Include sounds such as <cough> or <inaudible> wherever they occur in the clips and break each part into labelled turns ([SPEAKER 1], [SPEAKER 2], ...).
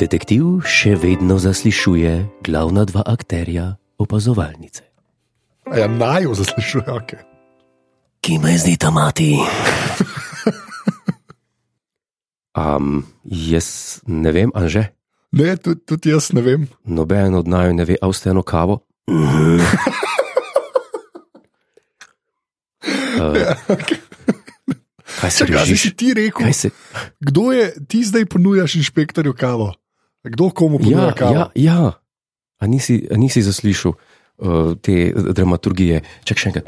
[SPEAKER 1] Detektiv še vedno zaslišuje glavna dva akterja opazovalnice.
[SPEAKER 2] A Ja, naj jo zaslišuje, okay.
[SPEAKER 1] Ki me zdi ta <laughs> mati? um, jaz ne vem, anže.
[SPEAKER 2] ne, tudi, tudi jaz ne vem.
[SPEAKER 1] Noben od naju ne ve, a ste eno kavo. Mhm. uh,
[SPEAKER 2] Okay.
[SPEAKER 1] <laughs> kaj se
[SPEAKER 2] Čakaj, a zdaj si
[SPEAKER 1] reži?
[SPEAKER 2] ti rekel,
[SPEAKER 1] Kaj se?
[SPEAKER 2] kdo je, ti zdaj ponujaš inšpektorju kavo? Kdo komu ponuja
[SPEAKER 1] Ja,
[SPEAKER 2] kavo?
[SPEAKER 1] ja, ja. A nisi, a nisi zaslišal uh, te dramaturgije? Čakaj še enkrat.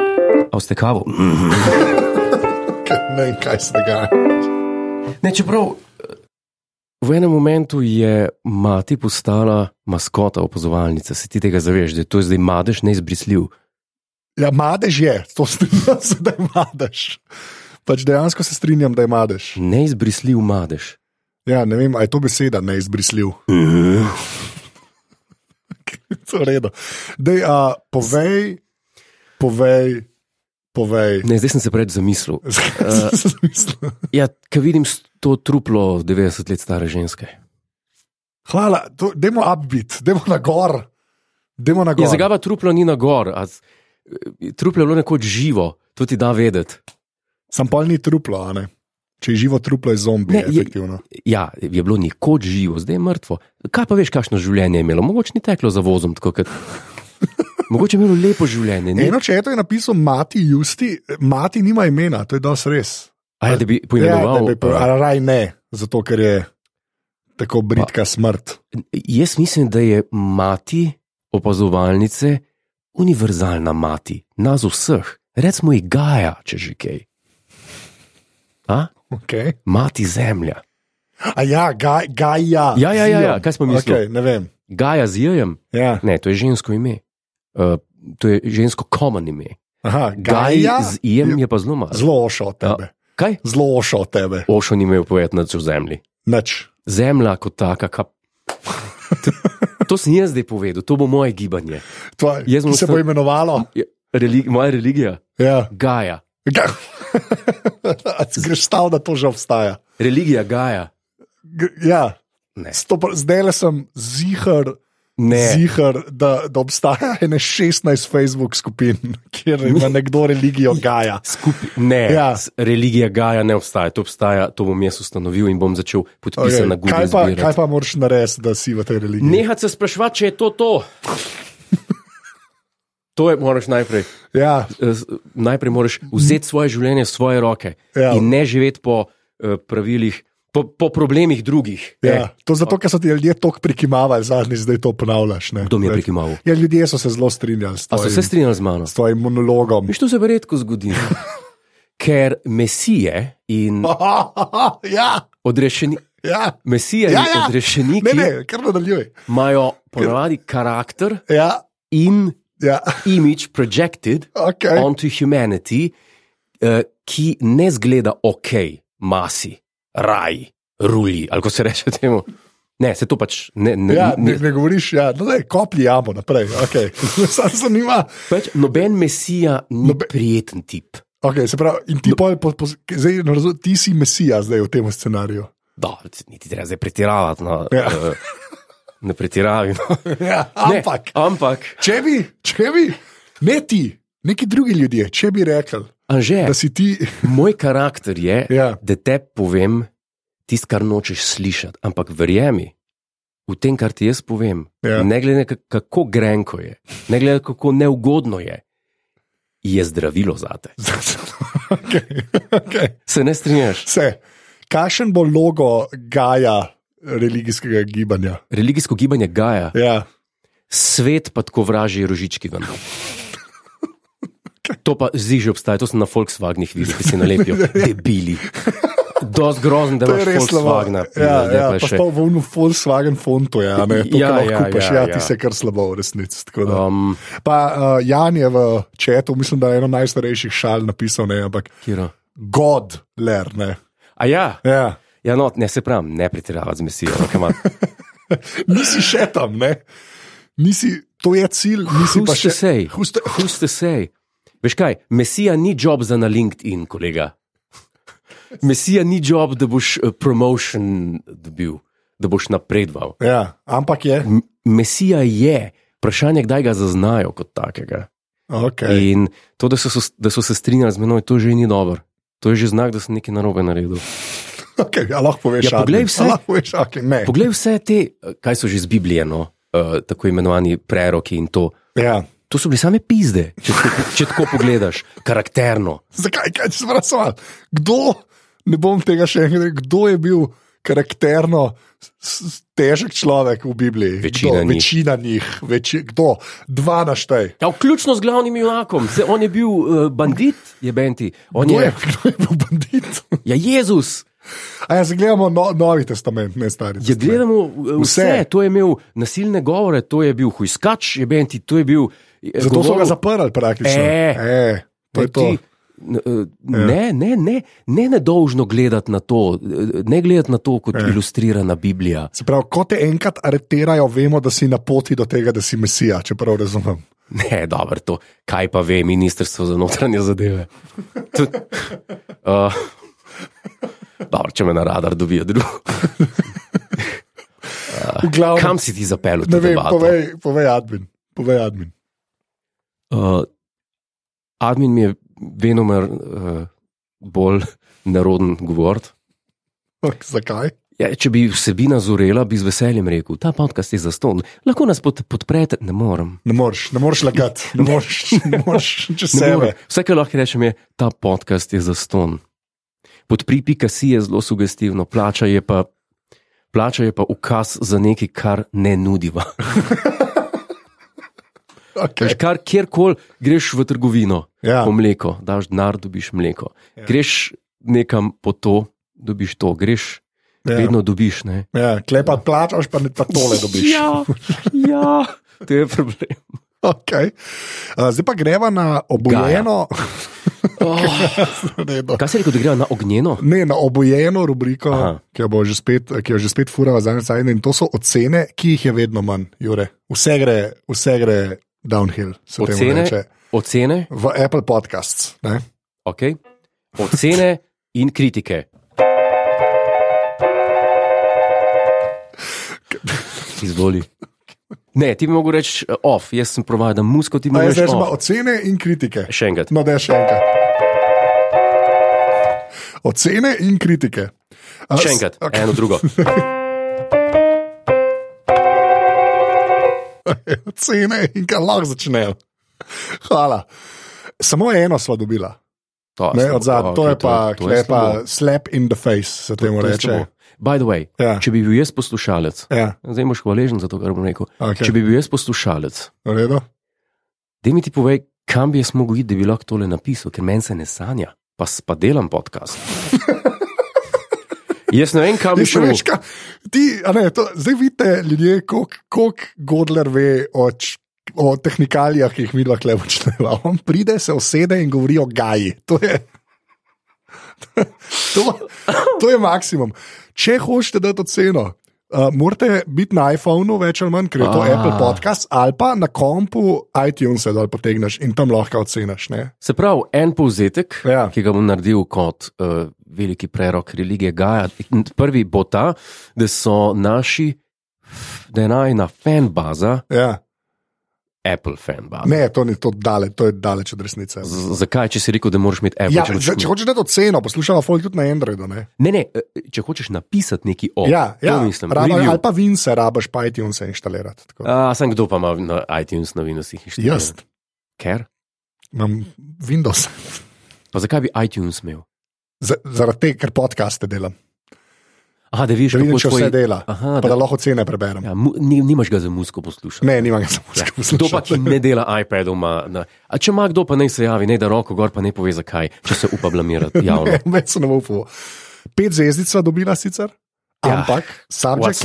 [SPEAKER 1] A ste kavo? Mhm.
[SPEAKER 2] Kaj, ne vem, kaj se dogaja.
[SPEAKER 1] Ne, čeprav eh, v enem momentu je mati postala maskota opazovalnice, se ti tega zaveš, da je to zdaj madež neizbrisljiv.
[SPEAKER 2] Ja, madež je, to strinjam <laughs> se, da je madež. Pač dejansko se strinjam, da je madež.
[SPEAKER 1] Neizbrisljiv madež.
[SPEAKER 2] Ja, ne vem, ali je to beseda neizbrisljiv. <laughs> To je redo. Dej, a, povej, povej, povej.
[SPEAKER 1] Ne, eh, zdaj sem se pred zamislil.
[SPEAKER 2] <laughs> Zakaj sem se zamislil?
[SPEAKER 1] Ja, ki vidim s- to truplo 90 let stare ženske.
[SPEAKER 2] Hvala, to- dajmo upbit, dajmo na gor. Dajmo na gor.
[SPEAKER 1] Je Ja, zagaba truplo ni na gor, a z- eh, truplo je bilo nekoč živo, to ti da vedeti.
[SPEAKER 2] Sam pol ni truplo, a ne. Če je živo truplo, je zombi,
[SPEAKER 1] Ne,
[SPEAKER 2] ne,
[SPEAKER 1] je-
[SPEAKER 2] efektivno.
[SPEAKER 1] Ja, je bilo nekoč živo, zdaj je mrtvo. Kaj pa veš, kakšno življenje je imelo? Mogoče ni teklo za vozom, tako kot. Mogoče je imelo lepo življenje.
[SPEAKER 2] Je...
[SPEAKER 1] Ne?
[SPEAKER 2] Eno, če je to je napisal Mati Justi, Mati nima imena, to je dosti res.
[SPEAKER 1] A ja, da bi
[SPEAKER 2] ja,
[SPEAKER 1] poimenoval.
[SPEAKER 2] da bi po-
[SPEAKER 1] uh,
[SPEAKER 2] a raj ne, zato ker je tako britka pa. smrt. <laughs>
[SPEAKER 1] jaz mislim, da je mati opazovalnice univerzalna mati, nas vseh. Recimo, ji Gaja, če že kaj. A?
[SPEAKER 2] Okay.
[SPEAKER 1] Mati zemlja.
[SPEAKER 2] A ja, ga, Gaja.
[SPEAKER 1] Ja, ja, ja, ja,
[SPEAKER 2] Zion.
[SPEAKER 1] kaj smo mislili?
[SPEAKER 2] Okej, ne vem.
[SPEAKER 1] Gaja z Jem,
[SPEAKER 2] Ja.
[SPEAKER 1] ne, to je žensko ime. Uh, to je žensko common ime.
[SPEAKER 2] Aha,
[SPEAKER 1] Gaj
[SPEAKER 2] Gaja.
[SPEAKER 1] z Ja. Jem je pa zelo malo.
[SPEAKER 2] Zelo ošo od tebe.
[SPEAKER 1] Kaj?
[SPEAKER 2] Zelo ošo od tebe.
[SPEAKER 1] Ošon imel pojet nad v zemlji.
[SPEAKER 2] Nič.
[SPEAKER 1] Zemlja kot taka, kap. To, to sem jaz zdaj povedal, to bo moje gibanje.
[SPEAKER 2] Tvoj,
[SPEAKER 1] Jaz bom
[SPEAKER 2] se
[SPEAKER 1] ostal-
[SPEAKER 2] bo imenovalo.
[SPEAKER 1] Je- Reli, moja religija,
[SPEAKER 2] Ja. <laughs>
[SPEAKER 1] Gaja.
[SPEAKER 2] Ga- A si Greš stav, da to že obstaja.
[SPEAKER 1] Religija Gaja.
[SPEAKER 2] Gr- Ja,
[SPEAKER 1] Ne,
[SPEAKER 2] zdaj le sem zihar,
[SPEAKER 1] ne.
[SPEAKER 2] zihar da, da obstaja ene 16 Facebook skupin, kjer ima nekdo religijo Gaja.
[SPEAKER 1] Skupi, ne. Ja.
[SPEAKER 2] Ja.
[SPEAKER 1] religija Gaja ne obstaja. To obstaja, to bom jaz ustanovil in bom začel podpisati okay. na
[SPEAKER 2] kaj,
[SPEAKER 1] Google.
[SPEAKER 2] pa, kaj
[SPEAKER 1] zbirati.
[SPEAKER 2] pa moraš narediti, da si v tej religiji?
[SPEAKER 1] Nehati se sprašovati, če je to
[SPEAKER 2] <laughs>
[SPEAKER 1] to. To je, moraš najprej.
[SPEAKER 2] Ja,
[SPEAKER 1] Eh, s- najprej moraš vzeti svoje življenje v svoje roke ja.
[SPEAKER 2] Ja.
[SPEAKER 1] in ne živeti po eh, pravilih, po, po problemih drugih. Eh,
[SPEAKER 2] ja. To je zato, ker so ti ljudje tako prikimavali, zadnji zdaj to ponavljaš. Ne?
[SPEAKER 1] Kdo mi je
[SPEAKER 2] Ne.
[SPEAKER 1] prikimal?
[SPEAKER 2] Ja, ljudje so se zelo strinjali s
[SPEAKER 1] A so
[SPEAKER 2] tvojim,
[SPEAKER 1] se strinjali z mano?
[SPEAKER 2] s tvojim monologom. <laughs>
[SPEAKER 1] Veš, to se pa redko zgodi. Ker mesije in
[SPEAKER 2] ja,
[SPEAKER 1] odrešeni.
[SPEAKER 2] ja.
[SPEAKER 1] Mesije
[SPEAKER 2] Ja,
[SPEAKER 1] in
[SPEAKER 2] ja. Ne,
[SPEAKER 1] odrešeniki
[SPEAKER 2] ne, kar nadaljuj.
[SPEAKER 1] imajo ponavadi karakter
[SPEAKER 2] Ja,
[SPEAKER 1] in
[SPEAKER 2] ja,
[SPEAKER 1] image projected
[SPEAKER 2] okay.
[SPEAKER 1] onto humanity, eh, ki ne zgleda ok, masi, raj, ruli, ali kako se reče temu. Ne, se to pač ne. ne,
[SPEAKER 2] Ja,
[SPEAKER 1] ne,
[SPEAKER 2] ne, ne govoriš, ja, no, daj, kopli jamo naprej. <laughs> Okay. Sam zanima.
[SPEAKER 1] Pač noben mesija ni
[SPEAKER 2] Nobe-
[SPEAKER 1] prijeten tip.
[SPEAKER 2] Okay, se pravi, in ti, no. po, po, zdaj, ne razum, ti si mesija zdaj v tem scenariju.
[SPEAKER 1] Da, niti treba zdaj pretiravati. No,
[SPEAKER 2] Ja.
[SPEAKER 1] eh, ne pretiravim.
[SPEAKER 2] <laughs> Ja,
[SPEAKER 1] Ne,
[SPEAKER 2] <laughs> ampak, ne.
[SPEAKER 1] Ampak,
[SPEAKER 2] če bi, če bi, ne ti, neki drugi ljudje, če bi rekel,
[SPEAKER 1] anže,
[SPEAKER 2] da si ti. <laughs>
[SPEAKER 1] moj karakter je,
[SPEAKER 2] Ja.
[SPEAKER 1] da te povem tisto, kar nočeš slišati. Ampak verjemi v tem, kar ti jaz povem.
[SPEAKER 2] Ja.
[SPEAKER 1] Ne glede na ka- kako grenko je, ne glede kako neugodno je, je zdravilo za te.
[SPEAKER 2] okay, okay.
[SPEAKER 1] Se ne strinjaš?
[SPEAKER 2] Vse. Kakšen bo logo Gaja religijskega gibanja?
[SPEAKER 1] Religijsko gibanje Gaja,
[SPEAKER 2] Ja,
[SPEAKER 1] svet pa tako vraži rožički ven. To pa zdaj že obstaja, to sem na Volkswagenih videl, ki se
[SPEAKER 2] <laughs>
[SPEAKER 1] nalepijo, debili. Dost grozen, da
[SPEAKER 2] Ja. to je
[SPEAKER 1] imaš
[SPEAKER 2] res slabo.
[SPEAKER 1] Volkswagena.
[SPEAKER 2] Ja,
[SPEAKER 1] pizda, zdaj
[SPEAKER 2] ja,
[SPEAKER 1] pa je
[SPEAKER 2] pa
[SPEAKER 1] še-
[SPEAKER 2] pa v unu Volkswagen fontu, ja, ne, to,
[SPEAKER 1] Ja,
[SPEAKER 2] ja, lahko
[SPEAKER 1] ja,
[SPEAKER 2] ja, kupaš,
[SPEAKER 1] ja,
[SPEAKER 2] ja, ja, No, ti
[SPEAKER 1] ja.
[SPEAKER 2] se kar slabo v resnici. tako da.
[SPEAKER 1] Um,
[SPEAKER 2] Pa uh, Jan je v četu, mislim, da je eno najstarejših šal napisal, ne, ampak
[SPEAKER 1] Kiro.
[SPEAKER 2] God, ler. Ne.
[SPEAKER 1] A ja,
[SPEAKER 2] Ja.
[SPEAKER 1] ja no, ne se pravim, ne pretiravati z mesijo. no, come on.
[SPEAKER 2] <laughs> Nisi še tam, ne. Nisi, to je cilj, nisi pa
[SPEAKER 1] Who's to
[SPEAKER 2] še
[SPEAKER 1] say?
[SPEAKER 2] Huste,
[SPEAKER 1] Who's to say? Veš kaj, mesija ni job za na LinkedIn, kolega. Mesija ni job, da boš eh, promotion dobil. da boš napredval.
[SPEAKER 2] Ja, ampak je.
[SPEAKER 1] M- Mesija je, vprašanje, kdaj ga zaznajo kot takega.
[SPEAKER 2] Okay.
[SPEAKER 1] In to, da so, se- da so se strinjali z menoj, to že ni dobro. To je že znak, da sem nekaj narobe naredil.
[SPEAKER 2] Okay, a lahko poveš,
[SPEAKER 1] Ja, poglej
[SPEAKER 2] Adlin?
[SPEAKER 1] vse-
[SPEAKER 2] A lahko poveš, okay, ne.
[SPEAKER 1] Poglej vse te, eh, kaj so že z Biblijo, no? Eh, tako imenovani preroki in to.
[SPEAKER 2] Ja.
[SPEAKER 1] To so bile same pizde, če tako, če tako pogledaš, karakterno.
[SPEAKER 2] Zakaj, kaj si sprašoval? Kdo, ne bom tega še enkrat rekel, kdo je bil karakterno s- s- težek človek v Bibliji?
[SPEAKER 1] Večina
[SPEAKER 2] kdo?
[SPEAKER 1] njih.
[SPEAKER 2] Večina njih, veči, kdo? Dva naštej.
[SPEAKER 1] Ja, vključno z glavnim junakom, se on je bil uh, bandit, je Benti, on
[SPEAKER 2] Kdo je, <laughs>
[SPEAKER 1] je,
[SPEAKER 2] kdo je bil bandit?
[SPEAKER 1] ja, Jezus.
[SPEAKER 2] A ja, zdaj gledamo no, novi testament, ne stari.
[SPEAKER 1] Je
[SPEAKER 2] testament.
[SPEAKER 1] gledamo vse. vse,
[SPEAKER 2] Vse.
[SPEAKER 1] to je imel nasilne govore, to je bil hujskač, je Benti, to je bil. eh,
[SPEAKER 2] Zato so
[SPEAKER 1] govoril-
[SPEAKER 2] ga zaprli praktično.
[SPEAKER 1] E.
[SPEAKER 2] e to je
[SPEAKER 1] Ti,
[SPEAKER 2] to.
[SPEAKER 1] n- eh, Ne, ne, ne, ne nedolžno gledati na to, eh, ne gledati na to kot ja. ilustrirana Biblija.
[SPEAKER 2] Se pravi, ko te enkrat areterajo, vemo, da si na poti do tega, da si mesija, če prav razumem.
[SPEAKER 1] Ne, dobro, to kaj pa ve ministrstvo za notranje zadeve. To, <laughs> uh, dobro, če me na radar dobijo drugo.
[SPEAKER 2] V glavnem,
[SPEAKER 1] Kam si ti zapeljal? to
[SPEAKER 2] ne vem,
[SPEAKER 1] debato?
[SPEAKER 2] povej, povej admin. Povej admin.
[SPEAKER 1] Uh, admin mi je venomer uh, bolj naroden govor.
[SPEAKER 2] Zakaj?
[SPEAKER 1] Ja, če bi vsebina zorela, bi z veseljem rekel: ta podcast je zaston, lahko nas pod, podprete, ne morem.
[SPEAKER 2] Ne moreš, ne moreš lagati, ne moreš, ne
[SPEAKER 1] <laughs>
[SPEAKER 2] moreš če
[SPEAKER 1] Ne morem.
[SPEAKER 2] sebe.
[SPEAKER 1] Vse, kar lahko rečem, je, ta podcast je zaston. Podpripika si je zelo sugestivno, plača je pa, plača je pa ukaz za nekaj, kar ne
[SPEAKER 2] <laughs>
[SPEAKER 1] nudiva. Veš,
[SPEAKER 2] Okay.
[SPEAKER 1] kar kjerkoli greš v trgovino,
[SPEAKER 2] Ja.
[SPEAKER 1] po mleko, daš denar, dobiš mleko. Ja.
[SPEAKER 2] Ja.
[SPEAKER 1] Greš nekam po to, dobiš to, greš, ja.
[SPEAKER 2] Ja.
[SPEAKER 1] vedno dobiš. Ne?
[SPEAKER 2] Ja, Klepa plačaš, pa ne pa tole dobiš.
[SPEAKER 1] Ja,
[SPEAKER 2] <laughs>
[SPEAKER 1] ja, to je problem.
[SPEAKER 2] Okay. Uh, zdaj pa greva na obojeno,
[SPEAKER 1] Oh,
[SPEAKER 2] <laughs> ne, no.
[SPEAKER 1] kaj se reče, da gre na ognjeno?
[SPEAKER 2] ne, na obojeno rubriko,
[SPEAKER 1] Aha.
[SPEAKER 2] ki jo, bo že spet, ki jo že spet furava zadnje cajne. In to so ocene, ki jih je vedno manj, Jure. Vse gre, vse gre downhill, se temu
[SPEAKER 1] Ocene?
[SPEAKER 2] reče.
[SPEAKER 1] Ocene,
[SPEAKER 2] V Apple podcasts. Ne?
[SPEAKER 1] okay. Ocene in kritike. Izvoli. Ne, ti bi mogel reči eh, off, jaz sem provajal muziko, ti bi
[SPEAKER 2] A
[SPEAKER 1] mogel
[SPEAKER 2] jaz
[SPEAKER 1] reči
[SPEAKER 2] rečem pa
[SPEAKER 1] off.
[SPEAKER 2] ocene in kritike.
[SPEAKER 1] Še enkrat.
[SPEAKER 2] No, da še enkrat. Ocene in kritike. A,
[SPEAKER 1] Še enkrat,
[SPEAKER 2] s-
[SPEAKER 1] okay. eno drugo.
[SPEAKER 2] <laughs> Ocene in kar lahko začnejo. Hvala. Samo eno smo dobila,
[SPEAKER 1] To,
[SPEAKER 2] ne,
[SPEAKER 1] slabo.
[SPEAKER 2] od zadnje. To
[SPEAKER 1] Okej,
[SPEAKER 2] je pa,
[SPEAKER 1] to
[SPEAKER 2] to je
[SPEAKER 1] slabo.
[SPEAKER 2] pa slap in the face, se temu
[SPEAKER 1] To je
[SPEAKER 2] reče.
[SPEAKER 1] slabo. By the way,
[SPEAKER 2] Ja.
[SPEAKER 1] če bi bil jaz poslušalec,
[SPEAKER 2] Ja,
[SPEAKER 1] zdaj imaš hvaležen za to, kar bom rekel.
[SPEAKER 2] Okej.
[SPEAKER 1] Če bi bil jaz poslušalec,
[SPEAKER 2] v redu.
[SPEAKER 1] da mi ti povej, kam bi jaz mogel iti, da bi lahko tole napisal, ker meni se ne sanja, pa, s- pa delam
[SPEAKER 2] <laughs>
[SPEAKER 1] podcast. jaz ne vem, kam bi
[SPEAKER 2] Ti še
[SPEAKER 1] šel.
[SPEAKER 2] veš, kaj ti, a ne, to, zdaj vidite, ljudje, koliko Godler ve o, č- o tehnikalijah, ki jih mi lahko počnemo. On pride, se usede in govori o gaji. To je, <laughs> to, to je maksimum. Če hočete dati oceno. Uh, morate biti na iPhonu, več ali manj, ker je to
[SPEAKER 1] Ah.
[SPEAKER 2] Apple podcast, ali pa na kompu iTunes, da potegneš in tam lahko oceniš. ne.
[SPEAKER 1] Se pravi, en povzetek, ja.
[SPEAKER 2] Ja.
[SPEAKER 1] ki ga bom naredil kot uh, veliki prerok religije Gaja. Prvi bo ta, da so naši, da je najna fanbaza,
[SPEAKER 2] Ja.
[SPEAKER 1] Apple fanbaza.
[SPEAKER 2] Ne, to, ni, to, dale, to je daleč od resnice.
[SPEAKER 1] Z- Zakaj, če si rekel, da moraš imeti Apple?
[SPEAKER 2] Ja,
[SPEAKER 1] če imaš-
[SPEAKER 2] če, če hočeš dati oceno, poslušala folk tudi na Androidu. Ne?
[SPEAKER 1] Ne, ne, eh, če hočeš napisati nekaj o
[SPEAKER 2] Ja,
[SPEAKER 1] to
[SPEAKER 2] ja.
[SPEAKER 1] mislim.
[SPEAKER 2] Raba,
[SPEAKER 1] review. Ja.
[SPEAKER 2] ali pa vince, rabaš pa iTunes inštalirati. tako.
[SPEAKER 1] A, sem kdo pa ima na iTunes novinosti?
[SPEAKER 2] Jaz
[SPEAKER 1] Ker?
[SPEAKER 2] imam Windows, <laughs>
[SPEAKER 1] Pa No, zakaj bi iTunes imel?
[SPEAKER 2] Z- zaradi tega, ker podcaste delam.
[SPEAKER 1] Aha, da vidiš,
[SPEAKER 2] Če vidim,
[SPEAKER 1] kako
[SPEAKER 2] če
[SPEAKER 1] tvoj-
[SPEAKER 2] vse dela,
[SPEAKER 1] Aha,
[SPEAKER 2] pa da
[SPEAKER 1] da,
[SPEAKER 2] lahko cene preberem.
[SPEAKER 1] ja, mu, ni, nimaš ga za muziko poslušati.
[SPEAKER 2] Ne, nimam ga samo
[SPEAKER 1] Kdo pa, ki
[SPEAKER 2] <laughs>
[SPEAKER 1] ne dela iPadov, ima. na- A če ima kdo, pa naj se javi, ne da roko gor, pa ne pove zakaj, če se upa blamirati javno.
[SPEAKER 2] Več se <laughs> ne bo upal. Pet zvezdica dobila sicer,
[SPEAKER 1] Ja.
[SPEAKER 2] ampak subject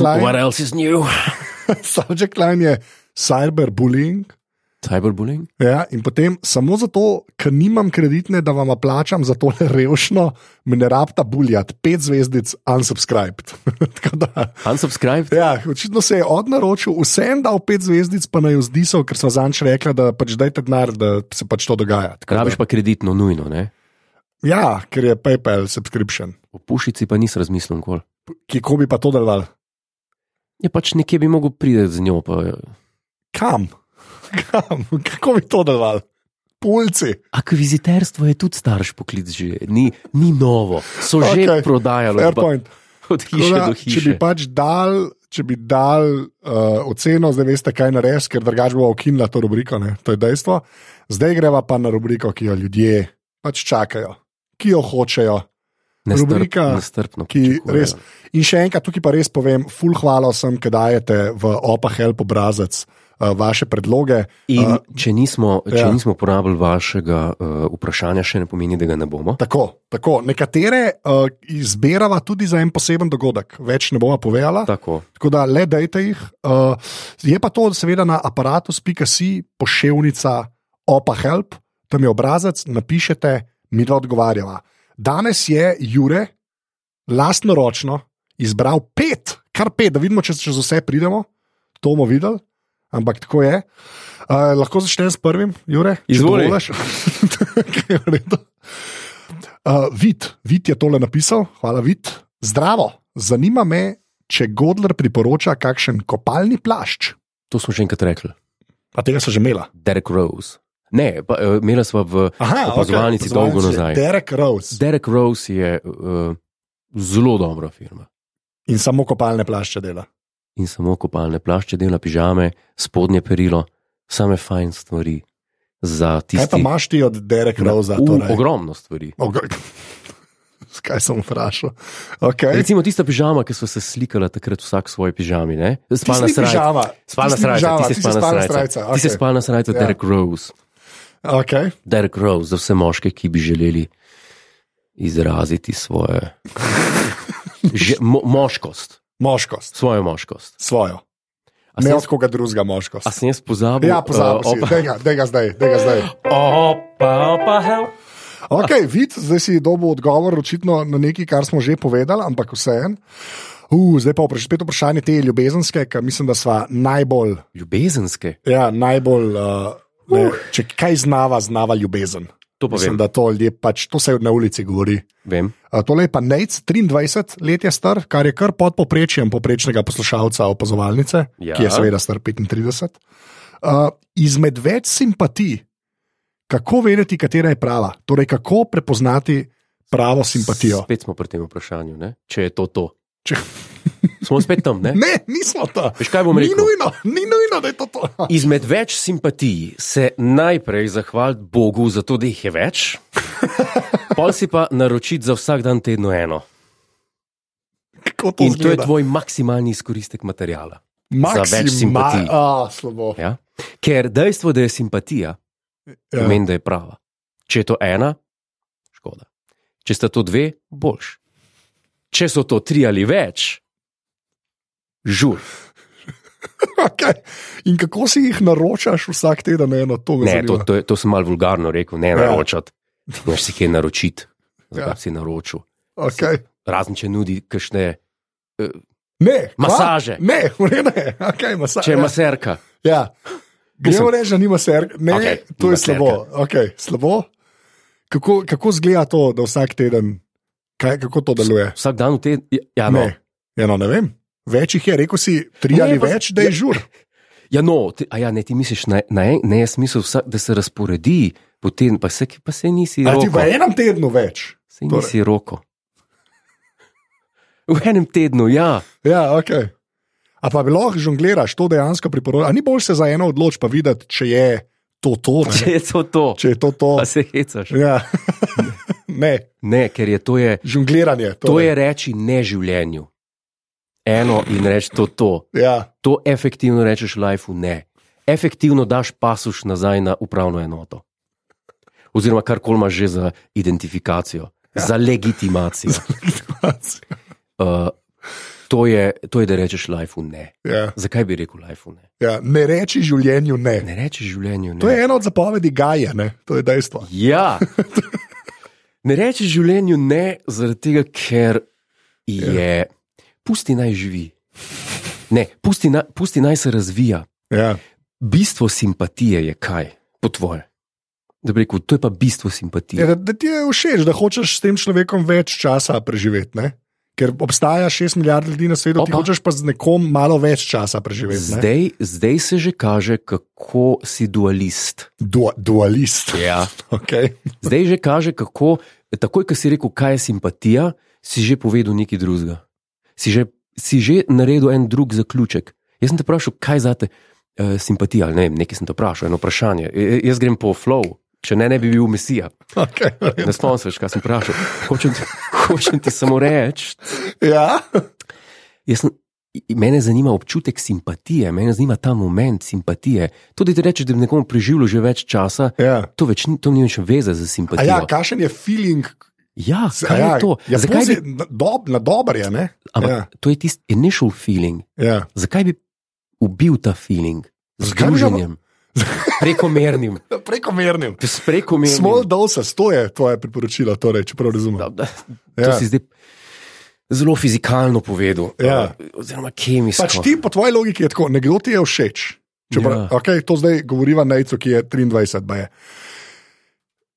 [SPEAKER 1] What's-
[SPEAKER 2] line,
[SPEAKER 1] what else is new?
[SPEAKER 2] <laughs> subject line je cyberbullying.
[SPEAKER 1] Cyberbullying?
[SPEAKER 2] Ja, in potem samo zato, ker nimam kreditne, da vam plačam za tole revšno, me ne rabta buljati, pet zvezdic, unsubscribed. <laughs> Tako da,
[SPEAKER 1] Unsubscribe?
[SPEAKER 2] ja, očitno se je odnaročil, vsem dal pet zvezdic, pa naj jo zdisal, ker so zanč rekla, da pač dajte denar, da se pač to dogaja. Tako da-
[SPEAKER 1] Rabiš pa kreditno, nujno, ne?
[SPEAKER 2] Ja, ker je PayPal subscription,
[SPEAKER 1] O pušici pa nisi razmislil nikoli.
[SPEAKER 2] ki ko bi pa to delal.
[SPEAKER 1] Je pač nekje bi mogel priti z njo. Pa,
[SPEAKER 2] Kam? <laughs> Kam? Kako bi to delovalo? Pulci.
[SPEAKER 1] Ja, akviziterstvo je tudi starš poklic, že ni, ni novo, so že
[SPEAKER 2] Okej,
[SPEAKER 1] okay. prodajali
[SPEAKER 2] Fair
[SPEAKER 1] ba-
[SPEAKER 2] point.
[SPEAKER 1] od
[SPEAKER 2] Tako
[SPEAKER 1] hiše
[SPEAKER 2] da,
[SPEAKER 1] do
[SPEAKER 2] Če bi
[SPEAKER 1] hiše. Pa...
[SPEAKER 2] pač dal, če bi dal uh, oceno, zdaj veste, kaj narediš, ker drugače bo ukinila to rubriko, ne? to je dejstvo. Zdaj greva pa na rubriko, ki jo ljudje pač čakajo, ki jo hočejo. rubrika,
[SPEAKER 1] nestrpno,
[SPEAKER 2] ki
[SPEAKER 1] pričakujejo.
[SPEAKER 2] res- In še enkrat, tukaj pa res povem, full hvala vsem, ki dajete v opa help obrazec uh, vaše predloge.
[SPEAKER 1] In
[SPEAKER 2] Uh,
[SPEAKER 1] če nismo, če
[SPEAKER 2] ja.
[SPEAKER 1] ja. nismo porabili vašega uh, vprašanja, še ne pomeni, da ga ne bomo.
[SPEAKER 2] Tako, tako. nekatere uh, izbirava tudi za en poseben dogodek, več ne bomo povedala.
[SPEAKER 1] Tako.
[SPEAKER 2] Tako da le dajte jih. Uh, je pa to seveda na aparatu.si pošiljka opa help, tam je obrazec, napišete, mi da odgovarjava. Danes je Jure lastnoročno izbral pet, kar pet, da vidimo, če čez vse pridemo. To bomo videli, ampak tako je. Uh, lahko začnem s prvim, Jure. če
[SPEAKER 1] Izvoli.
[SPEAKER 2] dovoljaš. Kaj <laughs> je v redu? Uh, vid, vid je tole napisal, hvala, vid. Zdravo, zanima me, če Godler priporoča kakšen kopalni plašč.
[SPEAKER 1] To smo še enkrat rekli.
[SPEAKER 2] A tega so že imela.
[SPEAKER 1] Derek Rose. Ne, pa, uh, imela sva v
[SPEAKER 2] Aha,
[SPEAKER 1] Opazovalnici dolgo nazaj.
[SPEAKER 2] Derek Rose
[SPEAKER 1] Derek Rose je uh, zelo dobra firma.
[SPEAKER 2] in samo kopalne plašče dela.
[SPEAKER 1] In samo kopalne plašče, delna pižame, spodnje perilo, same fajn stvari za
[SPEAKER 2] Kaj pa
[SPEAKER 1] tiste,
[SPEAKER 2] imaš ti od Derek Rose?
[SPEAKER 1] U,
[SPEAKER 2] Torej?
[SPEAKER 1] um, ogromno stvari.
[SPEAKER 2] <laughs> Ogr... Kaj sem vprašal? Okay.
[SPEAKER 1] Recimo tista pižama, ki so se slikala takrat vsak v svoji pižami, ne? Spalna
[SPEAKER 2] Tisti
[SPEAKER 1] srajca.
[SPEAKER 2] pižama,
[SPEAKER 1] Spalna
[SPEAKER 2] tisti
[SPEAKER 1] srajca,
[SPEAKER 2] pižama,
[SPEAKER 1] tiste
[SPEAKER 2] tisti
[SPEAKER 1] spalna
[SPEAKER 2] spalna
[SPEAKER 1] srajca.
[SPEAKER 2] srajca,
[SPEAKER 1] Tiste
[SPEAKER 2] okej.
[SPEAKER 1] spalna srajca,
[SPEAKER 2] Ja.
[SPEAKER 1] Derek Rose.
[SPEAKER 2] Okay.
[SPEAKER 1] Derek Rose za vse moške, ki bi želeli izraziti
[SPEAKER 2] <laughs>
[SPEAKER 1] svoje že, mo, moškost,
[SPEAKER 2] Moškost,
[SPEAKER 1] svojo moškost.
[SPEAKER 2] svojo,
[SPEAKER 1] A sem
[SPEAKER 2] ne
[SPEAKER 1] jaz,
[SPEAKER 2] od koga drugega
[SPEAKER 1] a
[SPEAKER 2] moškost.
[SPEAKER 1] sem jaz pozabil?
[SPEAKER 2] Ja, pozabi,
[SPEAKER 1] eh,
[SPEAKER 2] uh,
[SPEAKER 1] opa,
[SPEAKER 2] da ga zdaj, da ga
[SPEAKER 1] <laughs>
[SPEAKER 2] zdaj.
[SPEAKER 1] opa, opa, help.
[SPEAKER 2] Ok, vid, zdaj si dobil odgovor, očitno na nekaj, kar smo že povedali, ampak vseeno. Uh, zdaj pa vpraš, spet vprašanje te ljubezenske, ki mislim, da sva najbolj,
[SPEAKER 1] Ljubezenske,
[SPEAKER 2] ja, najbolj uh, ne, če kaj znava, znava ljubezen.
[SPEAKER 1] to pa
[SPEAKER 2] Mislim,
[SPEAKER 1] vem.
[SPEAKER 2] da to ljudje pač, to se na ulici govori.
[SPEAKER 1] vem.
[SPEAKER 2] Uh, Tole je pa Nec, 23 let je star, kar je kar pod poprečjem poprečnega poslušalca opazovalnice, ja.
[SPEAKER 1] Ja.
[SPEAKER 2] ki je seveda star 35. Uh, izmed več simpatij, kako vedeti, katera je prava, torej kako prepoznati pravo simpatijo.
[SPEAKER 1] Spet smo pri tem vprašanju, ne? če je to to.
[SPEAKER 2] Če...
[SPEAKER 1] Smo spet tam, ne?
[SPEAKER 2] Ne, nismo ta.
[SPEAKER 1] Veš kaj bom
[SPEAKER 2] Ni
[SPEAKER 1] rekel?
[SPEAKER 2] nujno, ni nujno, da je to <laughs> to.
[SPEAKER 1] Izmed več simpatij se najprej zahvaliti Bogu za to, da jih je več, pol si pa naročiti za vsak dan tedno eno.
[SPEAKER 2] Kako to
[SPEAKER 1] In to je
[SPEAKER 2] zgleda?
[SPEAKER 1] tvoj maksimalni izkoristek materijala.
[SPEAKER 2] Maksima-
[SPEAKER 1] več simpatij.
[SPEAKER 2] A, slabo.
[SPEAKER 1] Ja? Ker dejstvo, da je simpatija, ja.
[SPEAKER 2] <laughs> Ja.
[SPEAKER 1] pomeni, da je prava. Če je to ena, škoda. Če sta to dve, boljš. Če so to tri ali več, žur.
[SPEAKER 2] Okay. In kako si jih naročaš vsak teden, eno to me
[SPEAKER 1] Ne,
[SPEAKER 2] zanima.
[SPEAKER 1] to, to, je- to sem malo vulgarno rekel, ne naročati. Moš si kaj naročiti, zakaj ja.
[SPEAKER 2] Ja.
[SPEAKER 1] si naročil.
[SPEAKER 2] Okay.
[SPEAKER 1] Razen če nudi kakšne,
[SPEAKER 2] Ne, kva?
[SPEAKER 1] Masaže.
[SPEAKER 2] Ne, v redu je, <laughs> okay, masaže.
[SPEAKER 1] če je maserka.
[SPEAKER 2] Ja.
[SPEAKER 1] Mislim-
[SPEAKER 2] Gremo reči, da nima serka. Ne, okay,
[SPEAKER 1] Okej,
[SPEAKER 2] to je
[SPEAKER 1] nima
[SPEAKER 2] slabo. Okay, slabo. Kako, kako zgleda to, da vsak teden, kaj, kako to deluje?
[SPEAKER 1] Vsak dan v te, ja, no,
[SPEAKER 2] Ne, ja, no, ne vem. Več jih je, rekel si tri ne,
[SPEAKER 1] Ne,
[SPEAKER 2] ali pa,
[SPEAKER 1] pa-
[SPEAKER 2] več, da je
[SPEAKER 1] ja.
[SPEAKER 2] žur.
[SPEAKER 1] ja, no ti, a ja, ne, ti misliš, na, na en, ne, jaz mislim, vsak, da se razporedi, potem pa se, pa se nisi
[SPEAKER 2] Ali ti
[SPEAKER 1] roko.
[SPEAKER 2] v enem tednu več?
[SPEAKER 1] Se
[SPEAKER 2] Torej.
[SPEAKER 1] nisi roko. V enem tednu, ja,
[SPEAKER 2] Ja, ok. A pa bi lahko žongliraš, to dejansko priporočam. Ali ni bolj se za eno odločiti, pa videti, če je to to, ne?
[SPEAKER 1] če je to to,
[SPEAKER 2] če je to to.
[SPEAKER 1] pa se hecaš.
[SPEAKER 2] Ja. <laughs> ne,
[SPEAKER 1] Ne, ker je to, je,
[SPEAKER 2] žongliranje. torej.
[SPEAKER 1] to je reči ne življenju. Eno in reči to to.
[SPEAKER 2] Ja.
[SPEAKER 1] to efektivno rečeš lifeu ne. Efektivno daš pasuš nazaj na upravno enoto. Oziroma, kar koli imaš že za identifikacijo, ja. za
[SPEAKER 2] <laughs>
[SPEAKER 1] legitimacijo. Uh, to, je, to je, da rečeš lifeu ne.
[SPEAKER 2] ja.
[SPEAKER 1] Zakaj bi rekel lifeu ne?
[SPEAKER 2] Ja, ne reči življenju ne. ne.
[SPEAKER 1] Ne rečeš življenju ne.
[SPEAKER 2] To je ena od zapovedi Gaja, ne? to je dejstvo. <laughs>
[SPEAKER 1] Ja. Ne rečeš življenju ne, zaradi tega, ker
[SPEAKER 2] Ja.
[SPEAKER 1] je. Pusti naj živi. Ne, pusti, na, pusti naj se razvija.
[SPEAKER 2] Ja.
[SPEAKER 1] bistvo simpatije je kaj, po tvoje. Da bi rekel, to je pa bistvo simpatije.
[SPEAKER 2] Ja, da, da ti je všeč, da hočeš s tem človekom več časa preživeti. Ne? Ker obstaja 6 milijard ljudi na svetu, ti
[SPEAKER 1] Opa.
[SPEAKER 2] hočeš pa z nekom malo več časa preživeti. Ne?
[SPEAKER 1] Zdaj, zdaj se že kaže, kako si dualist.
[SPEAKER 2] Du
[SPEAKER 1] <laughs>
[SPEAKER 2] dualist.
[SPEAKER 1] Ja.
[SPEAKER 2] Okay.
[SPEAKER 1] Zdaj že kaže, kako, takoj, ko si rekel, kaj je simpatija, si že povedal nekaj drugega. Si že, si že naredil en drug zaključek. Jaz sem te vprašal, kaj za te uh, simpatija, ali ne, vem, nekaj sem te vprašal, eno vprašanje. E, jaz grem po flow, če ne, ne bi bil mesija.
[SPEAKER 2] Okay.
[SPEAKER 1] Ne spomnim se, več, kaj sem vprašal. Hočem ti, <laughs> hočem ti samo reči,
[SPEAKER 2] Ja.
[SPEAKER 1] Jaz sem, mene zanima občutek simpatije, mene zanima ta moment simpatije. To, da ti rečeš, da bi nekomu preživelo že več časa,
[SPEAKER 2] ja.
[SPEAKER 1] to, več, ni- to ni več veze z
[SPEAKER 2] A
[SPEAKER 1] simpatijo.
[SPEAKER 2] ja, kakšen je feeling?
[SPEAKER 1] ja,
[SPEAKER 2] z-
[SPEAKER 1] kaj
[SPEAKER 2] a ja,
[SPEAKER 1] je to?
[SPEAKER 2] Ja,
[SPEAKER 1] Zakaj bi,
[SPEAKER 2] pozit, na, dob, na dober je, ne?
[SPEAKER 1] ampak
[SPEAKER 2] ja,
[SPEAKER 1] to je tisti initial feeling.
[SPEAKER 2] ja.
[SPEAKER 1] Zakaj bi ubil ta feeling? Z
[SPEAKER 2] Zakaj bi ga- <laughs>
[SPEAKER 1] druženjem. Prekomernim.
[SPEAKER 2] Prekomernim.
[SPEAKER 1] S prekomernim.
[SPEAKER 2] Small doses, to je tvoje priporočilo, torej, če prav razumem.
[SPEAKER 1] Da, da, to
[SPEAKER 2] Ja.
[SPEAKER 1] si zdaj zelo fizikalno povedal.
[SPEAKER 2] Ja.
[SPEAKER 1] eh, Oziroma kemijsko.
[SPEAKER 2] Pač ti, po tvoji logiki, je tako, nekdo ti je všeč. Če
[SPEAKER 1] Ja.
[SPEAKER 2] ja. okay, to zdaj govoriva na Ecu, ki je 23, baje.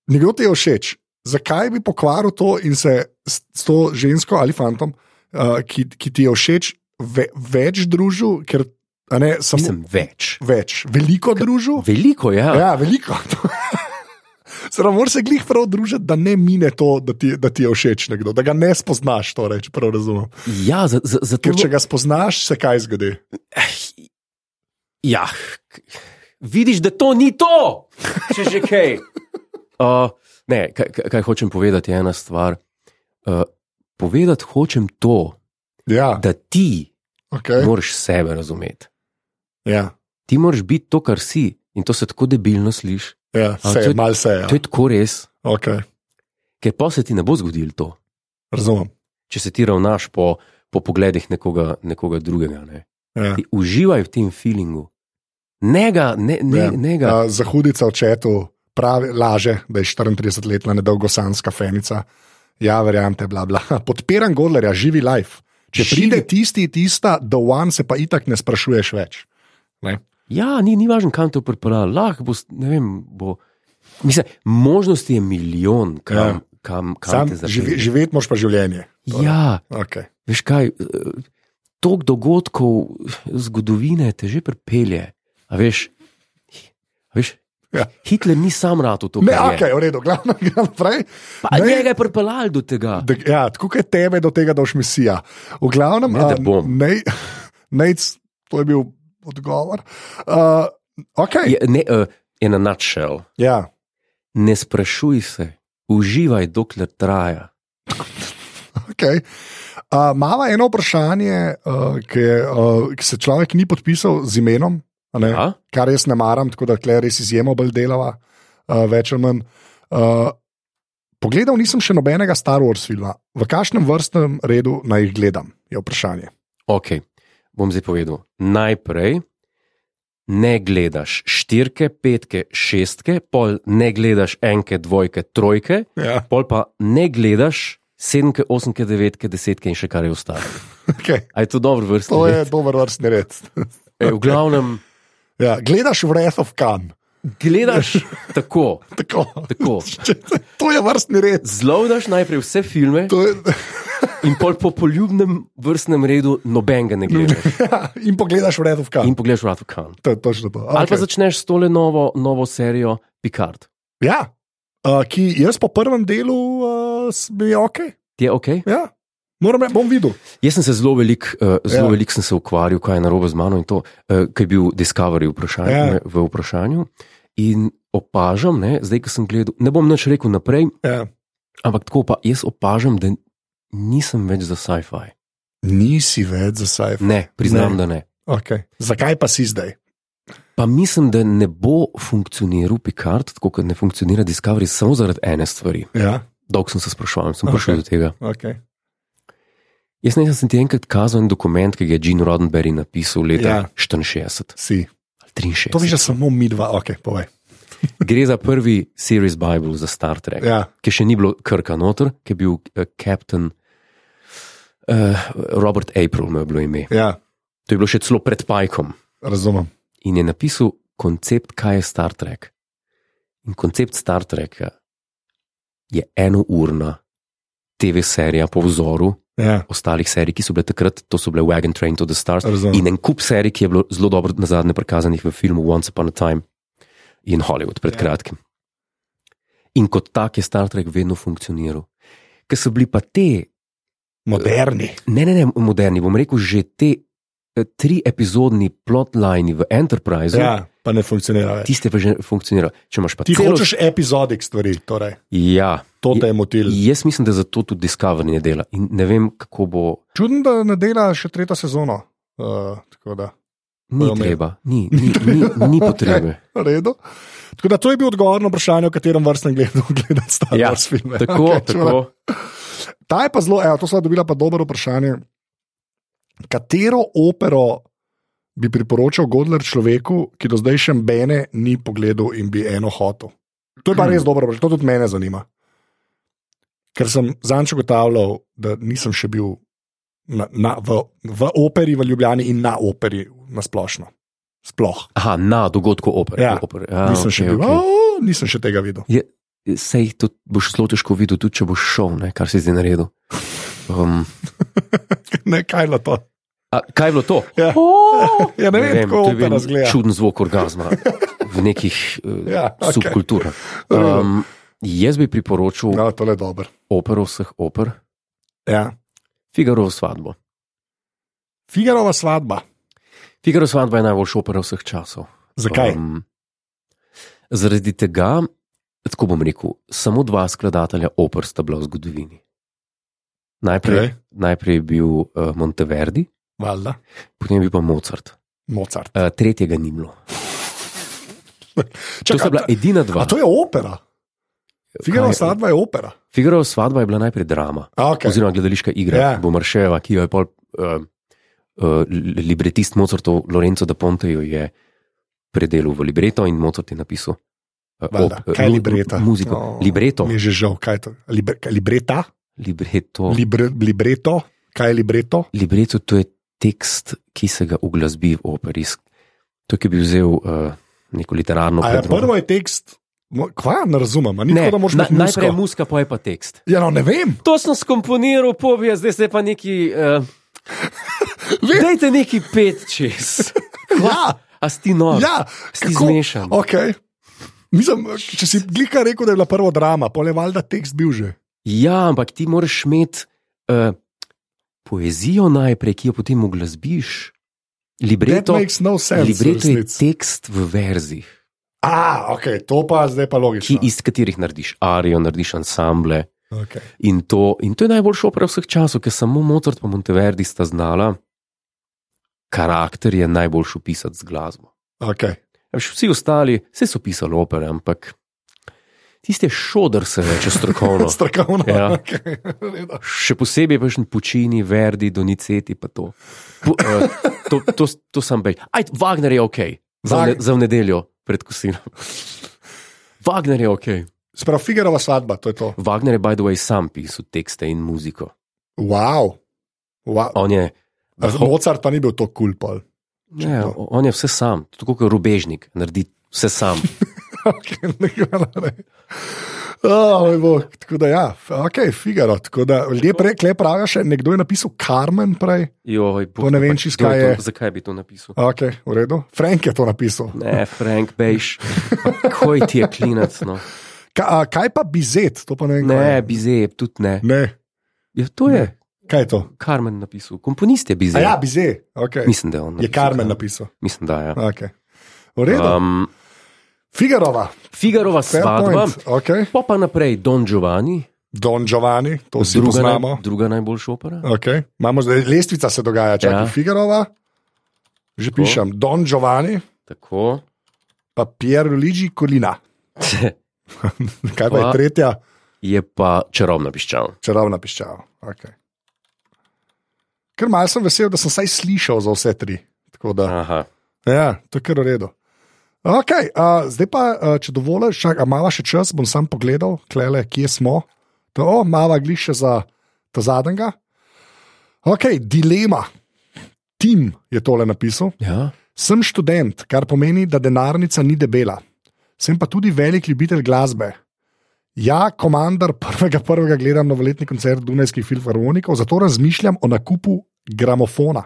[SPEAKER 2] Nekdo ti je všeč. Zakaj bi pokvaril to in se s, s to žensko ali fantom, uh, ki, ki ti je všeč, ve, več družil, ker a ne samo
[SPEAKER 1] Mislim več.
[SPEAKER 2] več, veliko družil?
[SPEAKER 1] Veliko, ja.
[SPEAKER 2] Ja, veliko. <laughs> Zelo moraš se glih prav družiti, da ne mine to, da ti, da ti je všeč nekdo, da ga ne spoznaš, torej, če prav razumem.
[SPEAKER 1] ja za, za, zato,
[SPEAKER 2] Ker če ga spoznaš, se kaj zgodi.
[SPEAKER 1] Eh, Ja, k- vidiš, da to ni to, če že kaj.
[SPEAKER 2] <laughs>
[SPEAKER 1] Uh, ne, kaj, kaj- kaj hočem povedati, je ena stvar. Uh, povedati hočem to,
[SPEAKER 2] Ja,
[SPEAKER 1] da ti
[SPEAKER 2] okay.
[SPEAKER 1] moraš sebe razumeti.
[SPEAKER 2] Ja,
[SPEAKER 1] Ti moraš biti to, kar si, in to se tako debilno sliši. A,
[SPEAKER 2] ja
[SPEAKER 1] to
[SPEAKER 2] se je,
[SPEAKER 1] je-
[SPEAKER 2] malo se je.
[SPEAKER 1] To je tako res,
[SPEAKER 2] Okay,
[SPEAKER 1] ker pa se ti ne bo zgodilo to,
[SPEAKER 2] razumem.
[SPEAKER 1] če se ti ravnaš po, po pogledih nekoga, nekoga drugega. Ne.
[SPEAKER 2] Ja.
[SPEAKER 1] Ti uživaj v tem feelingu. Ne ga, ne, ne,
[SPEAKER 2] Ja.
[SPEAKER 1] ne ga.
[SPEAKER 2] Ja. Za hudica v četu pravi, laže, da je 34-letna nedolgosanska fenica. Ja, verjamem te, bla, <laughs> bla. Podpiram Godlerja, živi life. Če
[SPEAKER 1] Živi.
[SPEAKER 2] živi. pride tisti, tista, da one se pa itak ne sprašuješ več.
[SPEAKER 1] Ja, ni, ni važno, kam te pripravlja. Lahko bo, s- ne vem, bo. Mislim, možnosti je milijon, kam, ja.
[SPEAKER 2] Ja.
[SPEAKER 1] kam, kam
[SPEAKER 2] Sam
[SPEAKER 1] te zapelje.
[SPEAKER 2] živi, živeti moraš pa življenje.
[SPEAKER 1] Ja,
[SPEAKER 2] Okay.
[SPEAKER 1] veš kaj, tok dogodkov eh, zgodovine te že pripelje. A veš, a veš ja.
[SPEAKER 2] Ja.
[SPEAKER 1] Hitler ni sam rado to,
[SPEAKER 2] Ne,
[SPEAKER 1] kar
[SPEAKER 2] ok,
[SPEAKER 1] je.
[SPEAKER 2] v redu, <laughs> glavno, glavno prej.
[SPEAKER 1] Pa
[SPEAKER 2] Ne.
[SPEAKER 1] njega je pripeljal do tega.
[SPEAKER 2] Da, ja, tako je tebe do tega, da boš misija. V glavnem,
[SPEAKER 1] Ne, da
[SPEAKER 2] a,
[SPEAKER 1] bom.
[SPEAKER 2] <laughs> nej, nejc, to je bil odgovor. Uh, ok, je,
[SPEAKER 1] Je, ne, uh, je na načel.
[SPEAKER 2] ja,
[SPEAKER 1] Ne sprašuj se, uživaj, dokler traja.
[SPEAKER 2] ok. Uh, Mava eno vprašanje, uh, ki, je, uh, ki se človek ni podpisal z imenom, a ne,
[SPEAKER 1] Ja?
[SPEAKER 2] kar jaz ne maram, tako da tle res izjemo bolj delava, uh, več ali manj. Uh, pogledal nisem še nobenega Star Wars filma. V kakšnem vrstnem redu naj jih gledam, je vprašanje.
[SPEAKER 1] Ok, bom zdaj povedal. Najprej ne gledaš štirke, petke, šestke, pol ne gledaš enke, dvojke, trojke,
[SPEAKER 2] <laughs> Ja.
[SPEAKER 1] pol pa ne gledaš sedemke, osemke, devetke, desetke in še kar je ostalo.
[SPEAKER 2] Okay.
[SPEAKER 1] A je to dobro vrstno?
[SPEAKER 2] To je dober vrstni red.
[SPEAKER 1] Ej, v glavnem,
[SPEAKER 2] Ja, gledaš Wrath of Khan. <laughs>
[SPEAKER 1] gledaš tako,
[SPEAKER 2] Tako. <laughs>
[SPEAKER 1] tako.
[SPEAKER 2] Če- To je vrstni red.
[SPEAKER 1] Zlovdaš najprej vse filme
[SPEAKER 2] To Je, <laughs>
[SPEAKER 1] in pol po poljubnem vrstnem redu nobenega ne gledaš.
[SPEAKER 2] <laughs> ja, in pogledaš Wrath of Khan.
[SPEAKER 1] In pogledaš Ratu Khan.
[SPEAKER 2] To je točno to.
[SPEAKER 1] Ali pa
[SPEAKER 2] Okay.
[SPEAKER 1] začneš s tole novo, novo serijo Picard.
[SPEAKER 2] Ja, uh, ki jaz po prvem delu uh, je ok.
[SPEAKER 1] Ti je ok?
[SPEAKER 2] Ja. Moram, re- bom videl.
[SPEAKER 1] Jaz sem se zelo velik, uh, zelo ja.
[SPEAKER 2] Ja.
[SPEAKER 1] velik sem se ukvarjal, kaj je narobe z mano in to, uh, kaj je bil Discovery vprašanje,
[SPEAKER 2] Ja.
[SPEAKER 1] ja. v vprašanju. In opažam, ne, zdaj, ko sem gledal, ne bom nič rekel naprej,
[SPEAKER 2] Ja.
[SPEAKER 1] ampak tako pa jaz opažam, da nisem več za sci-fi.
[SPEAKER 2] Nisi več za sci-fi.
[SPEAKER 1] Ne, priznam, ne.
[SPEAKER 2] Ne.
[SPEAKER 1] da ne.
[SPEAKER 2] Okay. Zakaj pa si zdaj?
[SPEAKER 1] Pa mislim, da ne bo funkcioniral Picard, tako kot ne funkcionira Discovery, samo zaradi ene stvari.
[SPEAKER 2] Ja,
[SPEAKER 1] Dolgo sem se sprašoval, sem
[SPEAKER 2] Ok.
[SPEAKER 1] prišel do tega.
[SPEAKER 2] okay.
[SPEAKER 1] Jaz ne vem, sem ti enkrat kazal en dokument, ki ga je Gene Roddenberry napisal
[SPEAKER 2] Ja.
[SPEAKER 1] leta 1964
[SPEAKER 2] si.
[SPEAKER 1] ali 63.
[SPEAKER 2] To veš, da samo mi dva, ok, povej.
[SPEAKER 1] Gre za prvi series Bible za Star Trek, ja.
[SPEAKER 2] Ja,
[SPEAKER 1] ki še ni bilo krka noter, ki je bil uh, kapitan uh, Robert April, mu je bilo ime.
[SPEAKER 2] ja,
[SPEAKER 1] To je bilo še celo pred Pajkom
[SPEAKER 2] razumem.
[SPEAKER 1] in je napisal koncept, kaj je Star Trek. In koncept Star Treka je enourna TV serija po vzoru
[SPEAKER 2] Ja,
[SPEAKER 1] ostalih serij, ki so bile takrat, to so bile Wagon Train to the Stars
[SPEAKER 2] Razumem.
[SPEAKER 1] Mm. in en kup serij, ki je bilo zelo dobro na zadnje prikazanih v filmu Once Upon a Time in Hollywood pred
[SPEAKER 2] Ja.
[SPEAKER 1] ja. kratkim. In kot tak je Star Trek vedno funkcioniral. Ker so bili pa te
[SPEAKER 2] moderni.
[SPEAKER 1] Ne, ne, ne, moderni. Bom rekel, že te eh, tri epizodni plotlini v Enterpriseu, ja.
[SPEAKER 2] Ja, pa ne funkcionirajo. več.
[SPEAKER 1] tiste pa že funkcionirajo. Če imaš pa
[SPEAKER 2] Ti
[SPEAKER 1] celo-
[SPEAKER 2] hočeš epizodik stvari, torej.
[SPEAKER 1] Ja,
[SPEAKER 2] to te je motil.
[SPEAKER 1] jaz mislim, da zato tudi Discovery ne dela. In ne vem, kako bo.
[SPEAKER 2] Čudno, da ne dela še tretjo sezono. Uh, tako da,
[SPEAKER 1] Ni
[SPEAKER 2] Bojo imeli.
[SPEAKER 1] treba,
[SPEAKER 2] <laughs>
[SPEAKER 1] ni, ni, ni, ni potrebe.
[SPEAKER 2] v redu. Tako da to je bil odgovor na vprašanje, o katerem vrstnem gledu <laughs> gledam Star
[SPEAKER 1] Ja,
[SPEAKER 2] Wars filme.
[SPEAKER 1] Tako,
[SPEAKER 2] Okej,
[SPEAKER 1] okay,
[SPEAKER 2] čudno.
[SPEAKER 1] tako.
[SPEAKER 2] Ta je pa zelo, evo, to smo dobila pa dobro vprašanje. Katero opero bi priporočal Godler človeku, ki do zdaj še mene ni pogledal in bi eno hotel? To
[SPEAKER 1] Hmm.
[SPEAKER 2] je pa res dobro, vprašanje, to tudi mene zanima. Ker sem zanj ugotavljal, da nisem še bil na, na, v, v operi v Ljubljani in na operi na splošno. Sploh.
[SPEAKER 1] Aha, na dogodku opere.
[SPEAKER 2] Ja,
[SPEAKER 1] opere.
[SPEAKER 2] A,
[SPEAKER 1] A,
[SPEAKER 2] nisem, okay, še bil,
[SPEAKER 1] Okay.
[SPEAKER 2] okay. nisem še tega videl. <laughs>
[SPEAKER 1] Sej to boš zelo težko videl, tudi če boš šel, ne, kar si zdaj naredil. Um,
[SPEAKER 2] ne, kaj je bilo to?
[SPEAKER 1] a, kaj je bilo to?
[SPEAKER 2] Ja.
[SPEAKER 1] Oh!
[SPEAKER 2] Ja, ne vem, kako
[SPEAKER 1] to je
[SPEAKER 2] opera
[SPEAKER 1] bil
[SPEAKER 2] zgleda.
[SPEAKER 1] čuden zvok orgasma v
[SPEAKER 2] <laughs>
[SPEAKER 1] nekih uh,
[SPEAKER 2] Ja,
[SPEAKER 1] ja,
[SPEAKER 2] okej.
[SPEAKER 1] okay. subkulturah.
[SPEAKER 2] V redu.
[SPEAKER 1] Um, jaz bi priporočil no.
[SPEAKER 2] No, tole je dobro.
[SPEAKER 1] opero vseh oper,
[SPEAKER 2] Ja.
[SPEAKER 1] Figarovo svatbo.
[SPEAKER 2] Figarova svatba.
[SPEAKER 1] Figaro svatba je najboljša opera vseh časov.
[SPEAKER 2] Zakaj? Um,
[SPEAKER 1] Um, zaradi tega, tako bom rekel, samo dva skladatelja oper sta bila v zgodovini. Najprej,
[SPEAKER 2] Okej.
[SPEAKER 1] okay. najprej je bil uh, Monteverdi,
[SPEAKER 2] Valjda.
[SPEAKER 1] potem je bil pa Mozart.
[SPEAKER 2] Mozart.
[SPEAKER 1] Uh, tretjega ni bilo. To sta
[SPEAKER 2] Čakaj,
[SPEAKER 1] bila
[SPEAKER 2] a
[SPEAKER 1] edina
[SPEAKER 2] to- a
[SPEAKER 1] dva.
[SPEAKER 2] to je opera. Figaro
[SPEAKER 1] Kaj-
[SPEAKER 2] svatba je opera.
[SPEAKER 1] Figarova svatba je bila najprej drama.
[SPEAKER 2] A, Okay.
[SPEAKER 1] okay. oziroma gledališka igra,
[SPEAKER 2] Ja.
[SPEAKER 1] yeah. Bomarševa, ki jo je pol, uh, uh, libretist Mozartov Lorenzo da Pontejo je predelal v libreto in Mozart je napisal. eh,
[SPEAKER 2] Valjda.
[SPEAKER 1] op-
[SPEAKER 2] Kaj je
[SPEAKER 1] lu-
[SPEAKER 2] libreta?
[SPEAKER 1] Muziko.
[SPEAKER 2] No,
[SPEAKER 1] Oh. Libreto.
[SPEAKER 2] Mi je že žal, kaj je to? Libre, kaj, libreta?
[SPEAKER 1] Libreto.
[SPEAKER 2] Libre, libreto? Kaj je libreto?
[SPEAKER 1] libreto to je tekst, ki se ga uglasbi v operi. S- To, ki bi vzel uh, neko literarno
[SPEAKER 2] A, ja,
[SPEAKER 1] predlogo.
[SPEAKER 2] prvo je tekst, mo- kva ne razumem, a ni
[SPEAKER 1] Ne,
[SPEAKER 2] tako, da moraš
[SPEAKER 1] na,
[SPEAKER 2] imeti musko.
[SPEAKER 1] najprej je muska, pa je pa tekst.
[SPEAKER 2] Ja, no, ne vem.
[SPEAKER 1] To sem skomponiral, pobija, zdaj se pa neki.
[SPEAKER 2] <laughs>
[SPEAKER 1] Uh,
[SPEAKER 2] Vem.
[SPEAKER 1] dajte neki pet čez.
[SPEAKER 2] Ja,
[SPEAKER 1] A si ti nor?
[SPEAKER 2] ja
[SPEAKER 1] si zmešan.
[SPEAKER 2] Okay. Mislim, če si glika rekel, da je bila prva drama, pol je valjda tekst bil že.
[SPEAKER 1] Ja, ampak ti moraš imeti uh, poezijo najprej, ki jo potem uglasbiš.
[SPEAKER 2] That
[SPEAKER 1] Libreto,
[SPEAKER 2] makes no sense. v
[SPEAKER 1] libreto je
[SPEAKER 2] resnici.
[SPEAKER 1] tekst v verzih,
[SPEAKER 2] A, ok, to pa zdaj
[SPEAKER 1] ki,
[SPEAKER 2] pa logično.
[SPEAKER 1] iz katerih narediš arijo, narediš ansamble.
[SPEAKER 2] Okay.
[SPEAKER 1] In to, in to je najboljša opera vseh časov, ker samo Mozart in Monteverdi sta znala, karakter je najboljši opisati z glasbo.
[SPEAKER 2] Okay.
[SPEAKER 1] A Veš, vsi ostali, vse so pisali opere, ampak tiste šodr se reče
[SPEAKER 2] <laughs>
[SPEAKER 1] strokovno.
[SPEAKER 2] Strokovno.
[SPEAKER 1] Ja.
[SPEAKER 2] Okay. v redu.
[SPEAKER 1] Še posebej paš Pučini, Verdi, Doniceti, pa to. Po, uh, to, to, to sem bej. Aj, Wagner je ok, za, v ne,
[SPEAKER 2] Wag-
[SPEAKER 1] za v nedeljo pred kosilom. Wagner je ok.
[SPEAKER 2] Sprav Figarova svatba, to je to.
[SPEAKER 1] Wagner je, by the way, sam pisal tekste in muziko.
[SPEAKER 2] Wow. wow.
[SPEAKER 1] On je,
[SPEAKER 2] A za Mozart pa ni bil to kul cool pol. <laughs>
[SPEAKER 1] ne, on je vse sam, tako kot rubežnik, naredi vse
[SPEAKER 2] <laughs>
[SPEAKER 1] sam.
[SPEAKER 2] okay, ne gre, ne. Oh, moj bog, tako da ja, ok, Figaro. tako Da, lep rek, lep pravi še, nekdo je napisal Carmen prej.
[SPEAKER 1] Joj,
[SPEAKER 2] To ne vem
[SPEAKER 1] pa
[SPEAKER 2] čisto,
[SPEAKER 1] kdo
[SPEAKER 2] kaj
[SPEAKER 1] to-
[SPEAKER 2] je.
[SPEAKER 1] Zakaj bi to napisal?
[SPEAKER 2] Ok, v redu. Frank je to napisal.
[SPEAKER 1] Ne, Frank, bejš, koj ti je klinac. No.
[SPEAKER 2] Ka, a, kaj pa bizet, to pa ne vem. kaj
[SPEAKER 1] Ne,
[SPEAKER 2] je.
[SPEAKER 1] bizep, tudi ne.
[SPEAKER 2] ne.
[SPEAKER 1] Ja, to je
[SPEAKER 2] Kaj je to?
[SPEAKER 1] Karmen napisal, komponist je
[SPEAKER 2] A
[SPEAKER 1] bizep.
[SPEAKER 2] ja, bize. Okay.
[SPEAKER 1] Mislim, da je on. napisal
[SPEAKER 2] Je Carmen
[SPEAKER 1] Carmen.
[SPEAKER 2] napisal.
[SPEAKER 1] Mislim, da je.
[SPEAKER 2] Okay. V redu.
[SPEAKER 1] Um,
[SPEAKER 2] Figarova,
[SPEAKER 1] Figarova
[SPEAKER 2] fair
[SPEAKER 1] svatba,
[SPEAKER 2] point. Okay.
[SPEAKER 1] pa pa naprej Don Giovanni,
[SPEAKER 2] Don Giovanni, to vsi
[SPEAKER 1] druga,
[SPEAKER 2] poznamo.
[SPEAKER 1] naj, druga najboljša opera.
[SPEAKER 2] Okay. Imamo zdaj lestvica, se dogaja, če je
[SPEAKER 1] Ja.
[SPEAKER 2] ja. Figarova, že
[SPEAKER 1] Tako.
[SPEAKER 2] pišem, Don Giovanni,
[SPEAKER 1] Tako. <laughs>
[SPEAKER 2] pa Pier Luigi Kolina. <laughs> Kaj pa je
[SPEAKER 1] Pa-
[SPEAKER 2] tretja,
[SPEAKER 1] Je pa čarobna piščal.
[SPEAKER 2] čarovna piščava. Okay. Ker malce sem vesel, da sem vsaj slišal za vse tri. Tako Da,
[SPEAKER 1] Aha.
[SPEAKER 2] ja, to je kar v redu. Okay, uh, zdaj pa, uh, če dovoliš, imamo še čas, bom sam pogledal, klele, kje smo. To, o, mava gliše za ta zadnjega. Ok, dilema. Tim je tole napisal.
[SPEAKER 1] Ja.
[SPEAKER 2] Sem študent, kar pomeni, da denarnica ni debela. Sem pa tudi velik ljubitelj glasbe. Ja, komandar prvega, prvega gledam novoletni koncert Dunajskih filharmonikov, zato razmišljam o nakupu gramofona.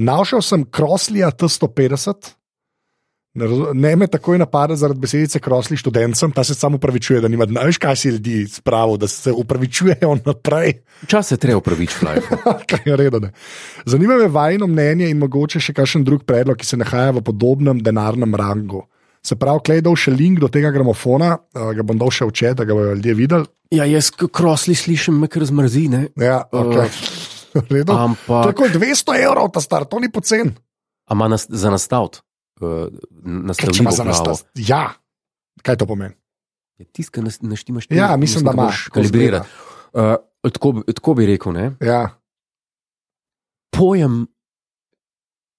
[SPEAKER 2] Našel sem Kroslija T150, ne, razu- ne me takoj napade zaradi besedice Krosli študentem, ta se samo upravičuje, da nima dna. Veš, kaj si ljudi spravo, da se upravičujejo naprej.
[SPEAKER 1] Čas se treba upravičiti, Lajfu.
[SPEAKER 2] <laughs> Kaj je redane. Zanima me vajno mnenje in mogoče še kakšen drug predlog, ki se nahaja v podobnem denarnem rangu. Se pravi, klej dol še link do tega gramofona, eh, ga bom dol še vče, da ga bodo ljudje videli.
[SPEAKER 1] <laughs> Ja, jaz krosli slišim, me kar zmrzi, ne?
[SPEAKER 2] Ja, <laughs> okay. uh,
[SPEAKER 1] ampak.
[SPEAKER 2] to je kot 200 evrov, ta star, to ni pocen.
[SPEAKER 1] A ima nas, za nastaviti? Uh,
[SPEAKER 2] Ker če
[SPEAKER 1] nastavljivo
[SPEAKER 2] imaš za nas
[SPEAKER 1] glavo.
[SPEAKER 2] ta- Ja, kaj to pomeni?
[SPEAKER 1] Je tisto, kar nas- naštimaš. ti,
[SPEAKER 2] Ja, mislim, da
[SPEAKER 1] ga
[SPEAKER 2] imaš.
[SPEAKER 1] moraš Kalibrirati. Uh, tako, bi- tako bi rekel, ne?
[SPEAKER 2] Ja,
[SPEAKER 1] pojem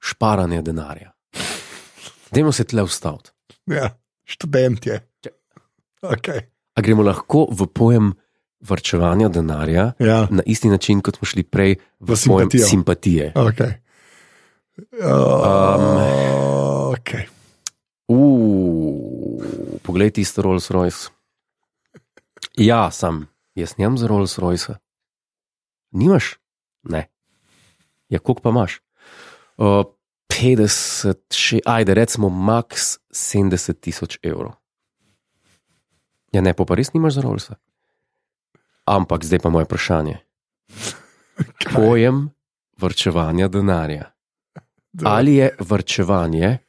[SPEAKER 1] šparanja denarja. Dajmo se tle ustaviti.
[SPEAKER 2] ja, študent je. Okay.
[SPEAKER 1] A gremo lahko v pojem vrčevanja denarja
[SPEAKER 2] Ja.
[SPEAKER 1] na isti način, kot smo šli prej v,
[SPEAKER 2] V
[SPEAKER 1] pojem
[SPEAKER 2] simpatijo.
[SPEAKER 1] simpatije.
[SPEAKER 2] Okay. Uh, um, okay.
[SPEAKER 1] Uh, poglej tisto Rolls Royce. Ja, sam, jaz nimam za Rolls Royce. Nimaš? Ne. Ja, koliko pa imaš? Uh, 50, še, ajde, recimo, max 70 tisoč evrov. Ja, ne, pol pa res nimaš za Rolls. Ampak zdaj pa moje vprašanje. Pojem vrčevanja denarja. Ali je vrčevanje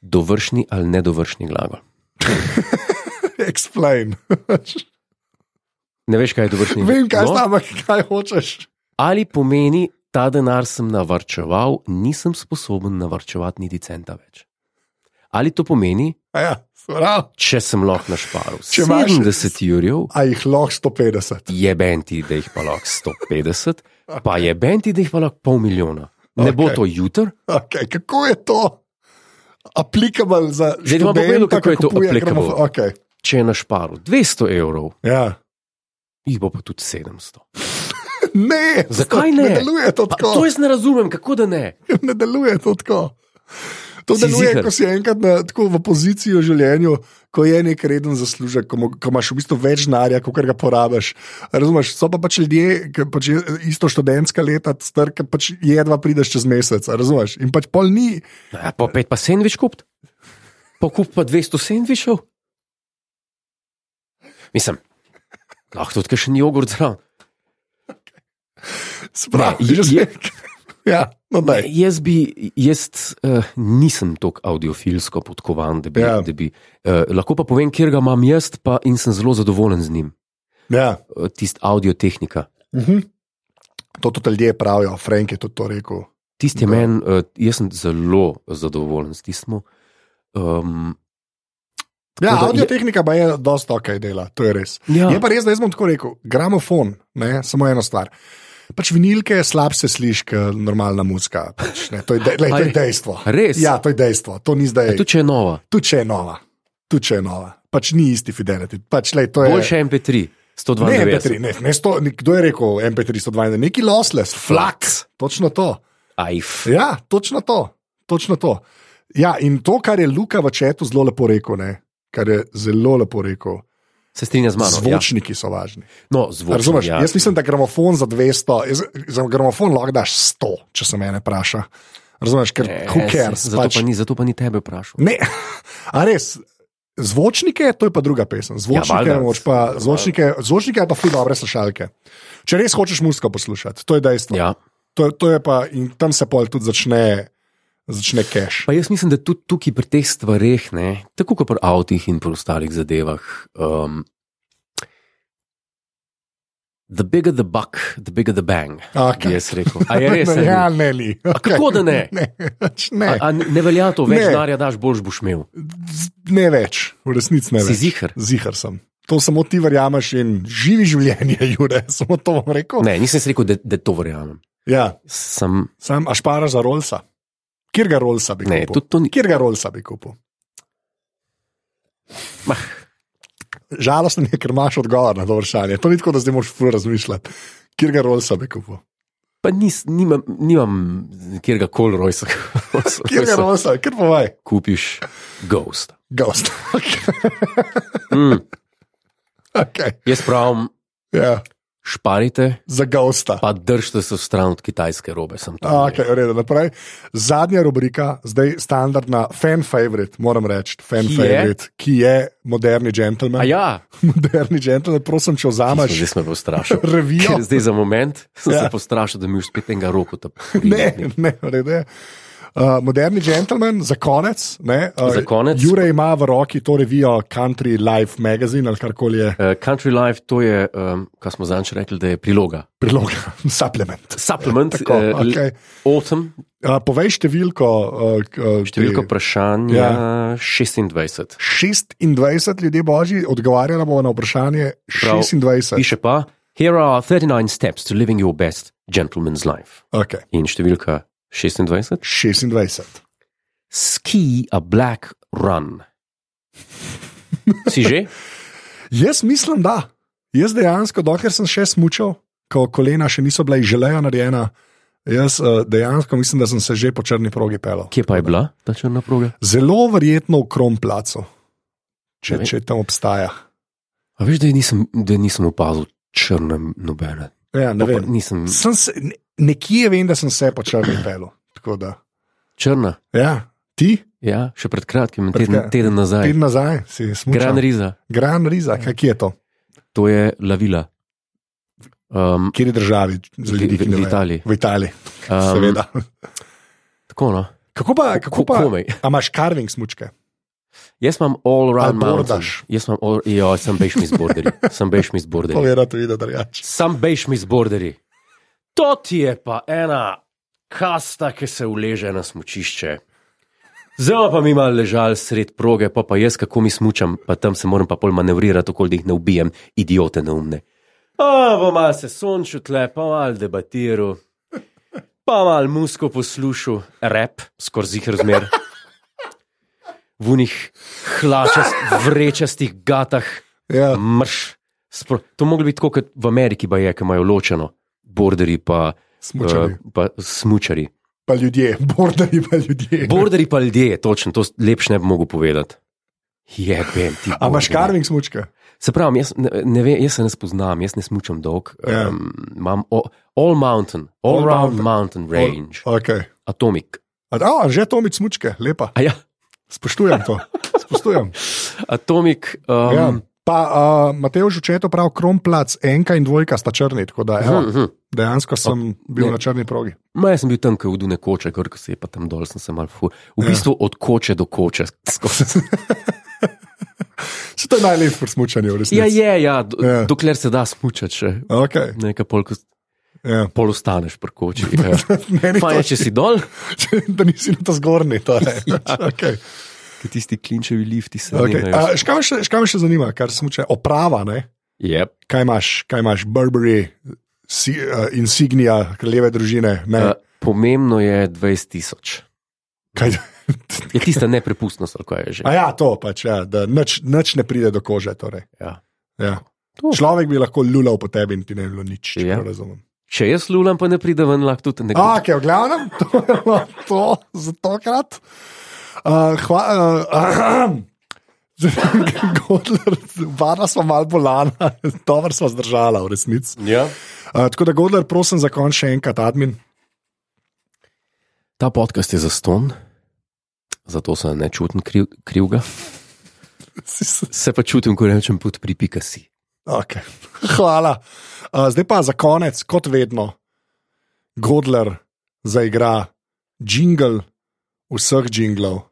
[SPEAKER 1] dovršni ali nedovršni glagol?
[SPEAKER 2] Explain.
[SPEAKER 1] Ne veš, kaj je dovršni
[SPEAKER 2] Vem, kaj
[SPEAKER 1] no,
[SPEAKER 2] znam, ampak kaj hočeš.
[SPEAKER 1] Ali pomeni, ta denar sem navrčeval, nisem sposoben navrčevati niti centa več. Ali to pomeni,
[SPEAKER 2] A Ja, prav.
[SPEAKER 1] če sem lahko našparil
[SPEAKER 2] Če imaš-
[SPEAKER 1] 70 jurjev,
[SPEAKER 2] A jih lahko 150.
[SPEAKER 1] je benti, da jih pa lahko 150, pa je benti, da jih pa lahko pol milijona. Ne okay. bo
[SPEAKER 2] Okej.
[SPEAKER 1] to jutr,
[SPEAKER 2] Okay. Kako je to applicable za
[SPEAKER 1] Zdaj ti bom
[SPEAKER 2] študenta,
[SPEAKER 1] povedal, kako
[SPEAKER 2] ki
[SPEAKER 1] je to
[SPEAKER 2] kupuje
[SPEAKER 1] applicable.
[SPEAKER 2] gramofon? Okay.
[SPEAKER 1] če je našparil 200 evrov,
[SPEAKER 2] Ja.
[SPEAKER 1] jih bo pa tudi 700.
[SPEAKER 2] Ne,
[SPEAKER 1] Zakaj
[SPEAKER 2] ne
[SPEAKER 1] ne?
[SPEAKER 2] deluje to
[SPEAKER 1] Pa, to
[SPEAKER 2] tako.
[SPEAKER 1] jaz ne razumem, kako da ne.
[SPEAKER 2] <laughs> ne deluje to tako. To
[SPEAKER 1] Si
[SPEAKER 2] deluje,
[SPEAKER 1] ziher?
[SPEAKER 2] ko si enkrat na, tako v poziciji v življenju, ko je nek reden zaslužek, ko, mo- ko imaš v bistvu več denarja, kot ga porabiš. Razumeš, so pa pač ljudje, ki pač je isto študentska leta, star, ki pač jedva prideš čez mesec, a razumeš. In pač pol ni,
[SPEAKER 1] Ja, pa pet pa sendvič kup, pa kup pa 200 sendvičev. Mislim, lahko tudi še ni jogurt zraven.
[SPEAKER 2] sprav, <laughs>
[SPEAKER 1] Ne, je-
[SPEAKER 2] že
[SPEAKER 1] je-
[SPEAKER 2] zmek. Ja, no daj.
[SPEAKER 1] Jaz bi, jaz uh, nisem tako audiofilsko podkovan, da bi,
[SPEAKER 2] Ja.
[SPEAKER 1] ja. da bi uh, lahko pa povem, kjer ga imam jaz, pa in sem zelo zadovoljen z njim,
[SPEAKER 2] Ja.
[SPEAKER 1] uh, tist audiotehnika.
[SPEAKER 2] Uh -huh. To tudi ljudje pravijo, Frank je tudi to rekel.
[SPEAKER 1] Tisti je
[SPEAKER 2] Da.
[SPEAKER 1] meni, uh, jaz sem zelo zadovoljen s tistim. Um,
[SPEAKER 2] Ja,
[SPEAKER 1] Tako da je-
[SPEAKER 2] audio tehnika pa je dosta ok dela, to je res.
[SPEAKER 1] ja,
[SPEAKER 2] Je pa res, da jaz bom tako rekel, gramofon, ne, samo eno stvar. Pač vinilke slab se sliši, kot normalna muzika. Pač, ne, to, je de, lej, to je
[SPEAKER 1] Aj,
[SPEAKER 2] dejstvo.
[SPEAKER 1] res?
[SPEAKER 2] Ja, to je dejstvo, to ni zdaj.
[SPEAKER 1] tudi če je nova,
[SPEAKER 2] Tudi če je nova, tudi če je nova. Pač ni isti fidelity. Pač, lej, to je,
[SPEAKER 1] boljše MP3,
[SPEAKER 2] ne,
[SPEAKER 1] 192.
[SPEAKER 2] MP3, ne, ne, sto, ne, kdo je rekel MP3 112, neki lossless, flux, točno to.
[SPEAKER 1] Ajf.
[SPEAKER 2] Ja, točno to. Točno to. Ja, in to, kar je Luka v četu zelo lepo rekel, ne, kar je zelo lepo rekel.
[SPEAKER 1] Se strinja z mano. Ja.
[SPEAKER 2] Zvočniki so važni.
[SPEAKER 1] No, zvočno,
[SPEAKER 2] Razumeš,
[SPEAKER 1] ja.
[SPEAKER 2] jaz mislim, da gramofon za 200, jaz, za gramofon lahko daš 100, če se mene vpraša. Razumeš, ker
[SPEAKER 1] Ne,
[SPEAKER 2] who cares.
[SPEAKER 1] E, se- Zato, pač... pa ni, zato pa ni tebe vprašal.
[SPEAKER 2] Ne, <laughs> a res. Zvočnike, to je pa druga pesem. Zvočnike,
[SPEAKER 1] valjda.
[SPEAKER 2] ja, pa, zvočnike, zvočnike je pa ful dobre slušalke. Če res hočeš muziko poslušati, to je dejstvo.
[SPEAKER 1] Ja.
[SPEAKER 2] To, to je pa, in tam se pol tudi začne, začne cache.
[SPEAKER 1] Pa jaz mislim, da tudi tukaj pri teh stvareh, ne, tako kot pri avtih in pri ostalih zadevah. Um, the bigger the buck, the bigger the bang.
[SPEAKER 2] Okay.
[SPEAKER 1] Bi jaz rekel.
[SPEAKER 2] <laughs>
[SPEAKER 1] A je res?
[SPEAKER 2] ne,
[SPEAKER 1] ali?
[SPEAKER 2] ja, ne, ni. Okay.
[SPEAKER 1] kako da ne?
[SPEAKER 2] <laughs> Ne, pač ne,
[SPEAKER 1] A, a ne velja to, več
[SPEAKER 2] Ne.
[SPEAKER 1] denarja daš, boljš boš imel.
[SPEAKER 2] Z- ne več, v resnici ne
[SPEAKER 1] Si
[SPEAKER 2] več.
[SPEAKER 1] zihar?
[SPEAKER 2] Zihar sem. To samo ti verjameš in živi življenje, <laughs> Jure, samo to vam rekel.
[SPEAKER 1] Ne, nisem si rekel, da, da to verjamem.
[SPEAKER 2] Ja,
[SPEAKER 1] Sem,
[SPEAKER 2] sam ašpara za Rolsa. Kjer ga Rolsa bi
[SPEAKER 1] ne,
[SPEAKER 2] kupil?
[SPEAKER 1] tudi to ni.
[SPEAKER 2] Kjer ga Rolsa bi kupil?
[SPEAKER 1] Mah.
[SPEAKER 2] Žalosten je, ker imaš odgovor na to vprašanje. To ni tako, da zdaj moraš fur razmišljati. Kjer ga Rolsa bi kupil?
[SPEAKER 1] Pa nis, nimam, nimam kjer ga kol
[SPEAKER 2] <laughs>
[SPEAKER 1] rojsa.
[SPEAKER 2] Kjer ga Rolsa, kjer povaj?
[SPEAKER 1] Kupiš ghost.
[SPEAKER 2] <laughs> Gost.
[SPEAKER 1] Mm.
[SPEAKER 2] Okay.
[SPEAKER 1] Jaz pravim,
[SPEAKER 2] Ja.
[SPEAKER 1] šparite,
[SPEAKER 2] Za gosta.
[SPEAKER 1] pa držite se stran od kitajske robe. sem to
[SPEAKER 2] A,
[SPEAKER 1] rekel.
[SPEAKER 2] Okay, v redu, naprej. Zadnja rubrika, zdaj standardna, fan favorite, moram reči, fan
[SPEAKER 1] Ki je?
[SPEAKER 2] ki favorite, je? ki je moderni
[SPEAKER 1] A
[SPEAKER 2] džentlmen.
[SPEAKER 1] ja,
[SPEAKER 2] <laughs> Moderni džentlmen, prosim, če vzameš
[SPEAKER 1] zdaj sem me postrašil.
[SPEAKER 2] <laughs> revijo.
[SPEAKER 1] Ker zdaj za moment sem
[SPEAKER 2] Ja.
[SPEAKER 1] se postrašil, da mi už spet enega roko tam.
[SPEAKER 2] <laughs> Ne, ne, v redu je. Uh, moderni džentlmen, za konec. Ne, uh,
[SPEAKER 1] Za konec.
[SPEAKER 2] Jure ima v roki to revijo Country Life Magazine ali karkoli je
[SPEAKER 1] Uh, Country Life, to je, um, kar smo zadnjič rekli, da je priloga.
[SPEAKER 2] priloga, <laughs> supplement.
[SPEAKER 1] Supplement,
[SPEAKER 2] Tako,
[SPEAKER 1] eh, l-
[SPEAKER 2] okay.
[SPEAKER 1] Autumn,
[SPEAKER 2] uh, povej številko. Uh, k- uh,
[SPEAKER 1] številko
[SPEAKER 2] te-
[SPEAKER 1] vprašanja ja. 26.
[SPEAKER 2] 26 ljudi božji odgovarjala bo na vprašanje
[SPEAKER 1] Prav.
[SPEAKER 2] 26.
[SPEAKER 1] Piše pa: Here are 39 steps to living your best gentleman's life.
[SPEAKER 2] Okay.
[SPEAKER 1] In številka 26.
[SPEAKER 2] 26.
[SPEAKER 1] Ski a black run. Si <laughs> že?
[SPEAKER 2] Jaz mislim, da. Jaz dejansko, dokler sem še smučal, ko kolena še niso bila iz želeja narejena, jaz eh, dejansko mislim, da sem se že po črni progi pelal.
[SPEAKER 1] Kje pa je bila ta črna proga?
[SPEAKER 2] Zelo verjetno v Kromplacu,
[SPEAKER 1] Ne
[SPEAKER 2] če,
[SPEAKER 1] vem.
[SPEAKER 2] če tam obstaja.
[SPEAKER 1] A veš, da je nisem, da je nisem opazil črne nobene.
[SPEAKER 2] Ja, ne
[SPEAKER 1] Pa
[SPEAKER 2] vem.
[SPEAKER 1] Nisem
[SPEAKER 2] Sem se, ne- nekje vem, da sem se po črni pelal. Tako da.
[SPEAKER 1] črna.
[SPEAKER 2] Ja, ti,
[SPEAKER 1] Ja, še pred kratkim,
[SPEAKER 2] Pred
[SPEAKER 1] teden,
[SPEAKER 2] kratkim.
[SPEAKER 1] teden nazaj.
[SPEAKER 2] teden nazaj, si
[SPEAKER 1] Gran
[SPEAKER 2] smučal.
[SPEAKER 1] Riza,
[SPEAKER 2] Gran Riza, kaj kje je to?
[SPEAKER 1] to je lavila. Um,
[SPEAKER 2] Kjer je državi, za ljudi,
[SPEAKER 1] v,
[SPEAKER 2] ki
[SPEAKER 1] v
[SPEAKER 2] ne vejo?
[SPEAKER 1] Italiji.
[SPEAKER 2] V Italiji,
[SPEAKER 1] Um,
[SPEAKER 2] seveda.
[SPEAKER 1] Tako no.
[SPEAKER 2] Kako pa, kako
[SPEAKER 1] Ko-
[SPEAKER 2] pa
[SPEAKER 1] komaj.
[SPEAKER 2] a imaš karving smučke?
[SPEAKER 1] Jaz imam all
[SPEAKER 2] Ali
[SPEAKER 1] round mountain.
[SPEAKER 2] bordaš?
[SPEAKER 1] Jaz imam all, jo, sem bejš mi z borderji. Sem bejš mi z borderji.
[SPEAKER 2] Povedati, videti drugače.
[SPEAKER 1] Sam bejš mi z borderji. To ti je pa ena kasta, ki se uleže na smučišče. Zelo pa mi malo ležal sred proge, pa pa jaz kako mi smučam, pa tam se moram pa pol manevrirati, okoli da jih ne ubijem, idiote neumne. Pa bom malo se sončil tle, pa malo debatiral, pa malo musko poslušal, rep, skoraj zih razmer. V unih hlačast, vrečastih gatah.
[SPEAKER 2] Ja.
[SPEAKER 1] Mrš. Spro, to moglo biti tako kot v Ameriki, pa je, ki imajo ločeno, borderi pa,
[SPEAKER 2] Smučari.
[SPEAKER 1] eh, pa smučari.
[SPEAKER 2] Pa ljudje, <laughs> borderi pa ljudje.
[SPEAKER 1] Borderi pa ljudje, točno, to s- lepš ne bi mogel povedati. Je, vem ti.
[SPEAKER 2] A
[SPEAKER 1] borderji.
[SPEAKER 2] imaš karving smučke?
[SPEAKER 1] Se pravi, jaz ne, ne, ve, jaz se ne spoznam, jaz ne smučam dolg.
[SPEAKER 2] Ja.
[SPEAKER 1] Um, imam o, all mountain, all,
[SPEAKER 2] All
[SPEAKER 1] all round mountain
[SPEAKER 2] mountain.
[SPEAKER 1] range, all.
[SPEAKER 2] Okay.
[SPEAKER 1] atomic.
[SPEAKER 2] A, a, že Tomič smučke, lepa.
[SPEAKER 1] A ja,
[SPEAKER 2] Spoštujem
[SPEAKER 1] <laughs>
[SPEAKER 2] to. Spoštujem.
[SPEAKER 1] atomic. Um,
[SPEAKER 2] Ja. Pa uh, Mateo Žučeto pravi, kromplac, enka in dvojka sta črni, tako da evo,
[SPEAKER 1] hm, hm.
[SPEAKER 2] dejansko sem bil
[SPEAKER 1] ne.
[SPEAKER 2] na črni progi.
[SPEAKER 1] Ma, jaz sem bil tam, ko je vdu nekoče, ko se je pa tam dol, sem se mal fu. V
[SPEAKER 2] Ja.
[SPEAKER 1] bistvu od koče do koče, <laughs> skozi.
[SPEAKER 2] Se to je najlepše pri smučanju, v resnici.
[SPEAKER 1] Ja, je, ja, do,
[SPEAKER 2] Ja.
[SPEAKER 1] ja. dokler se da smučati, še
[SPEAKER 2] Okay.
[SPEAKER 1] nekaj pol, ko s-
[SPEAKER 2] Ja. <laughs>
[SPEAKER 1] pol ostaneš prkoči.
[SPEAKER 2] Meni
[SPEAKER 1] Fajn, je, Ja.
[SPEAKER 2] to,
[SPEAKER 1] če si dol,
[SPEAKER 2] da nisi na to zgornji.
[SPEAKER 1] <laughs>
[SPEAKER 2] torej. Okay.
[SPEAKER 1] ki tisti klinčevi lifti se
[SPEAKER 2] Okay.
[SPEAKER 1] okay.
[SPEAKER 2] A, še Kaj me še- še kaj me še zanima, kar se muče oprava, ne?
[SPEAKER 1] Yep.
[SPEAKER 2] kaj imaš, kaj imaš Burberry, si, uh, insignia kraljeve družine, ne?
[SPEAKER 1] Uh, pomembno je 20 tisoč.
[SPEAKER 2] Kaj,
[SPEAKER 1] Je tista neprepustnost, ali kaj je že.
[SPEAKER 2] a ja, to pač, ja, da nič, nič ne pride do kože. Torej.
[SPEAKER 1] Ja.
[SPEAKER 2] Ja.
[SPEAKER 1] To.
[SPEAKER 2] Človek bi lahko lulal po tebi in ti ne bi bilo nič, če
[SPEAKER 1] Ja.
[SPEAKER 2] ja. razumem.
[SPEAKER 1] Če jaz lulam, pa ne pride ven, lahko tudi nekdo.
[SPEAKER 2] Ok, v glavnem, to je bilo to za tokrat. Uh, hva, uh, <clears throat> Godler, varno smo malo bolana, <laughs> dobro smo zdržala, v resnici.
[SPEAKER 1] Ja.
[SPEAKER 2] Uh, tako da, Godler, prosim, za konec še enkrat, admin. <laughs>
[SPEAKER 1] Ta podcast je za ston, zato se ne čutim kriv, krivga.
[SPEAKER 2] Si se-
[SPEAKER 1] Se pa čutim, ko rečem, pod pripika si.
[SPEAKER 2] Okay. <laughs> Hvala. Uh, zdaj pa za konec, kot vedno, Godler zaigra jingle vseh jinglov,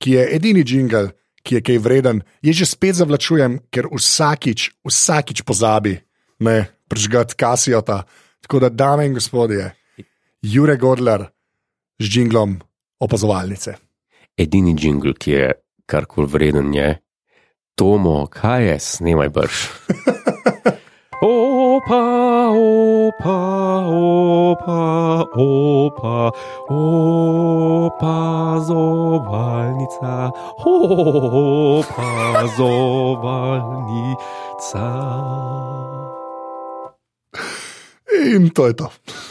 [SPEAKER 2] ki je edini jingle, ki je kaj vreden. Je že spet zavlačujem, ker vsakič, vsakič pozabi, ne prižgati kasijota. Tako da, dame in gospodje, Jure Godler z jinglom opazovalnice.
[SPEAKER 1] Edini jingle, ki je karkoli vreden, je Tomo, kaj je, snemaj brž. Opa, opa, opa, opa, opa, zovalnica, opa, zovalnica.
[SPEAKER 2] In to je to.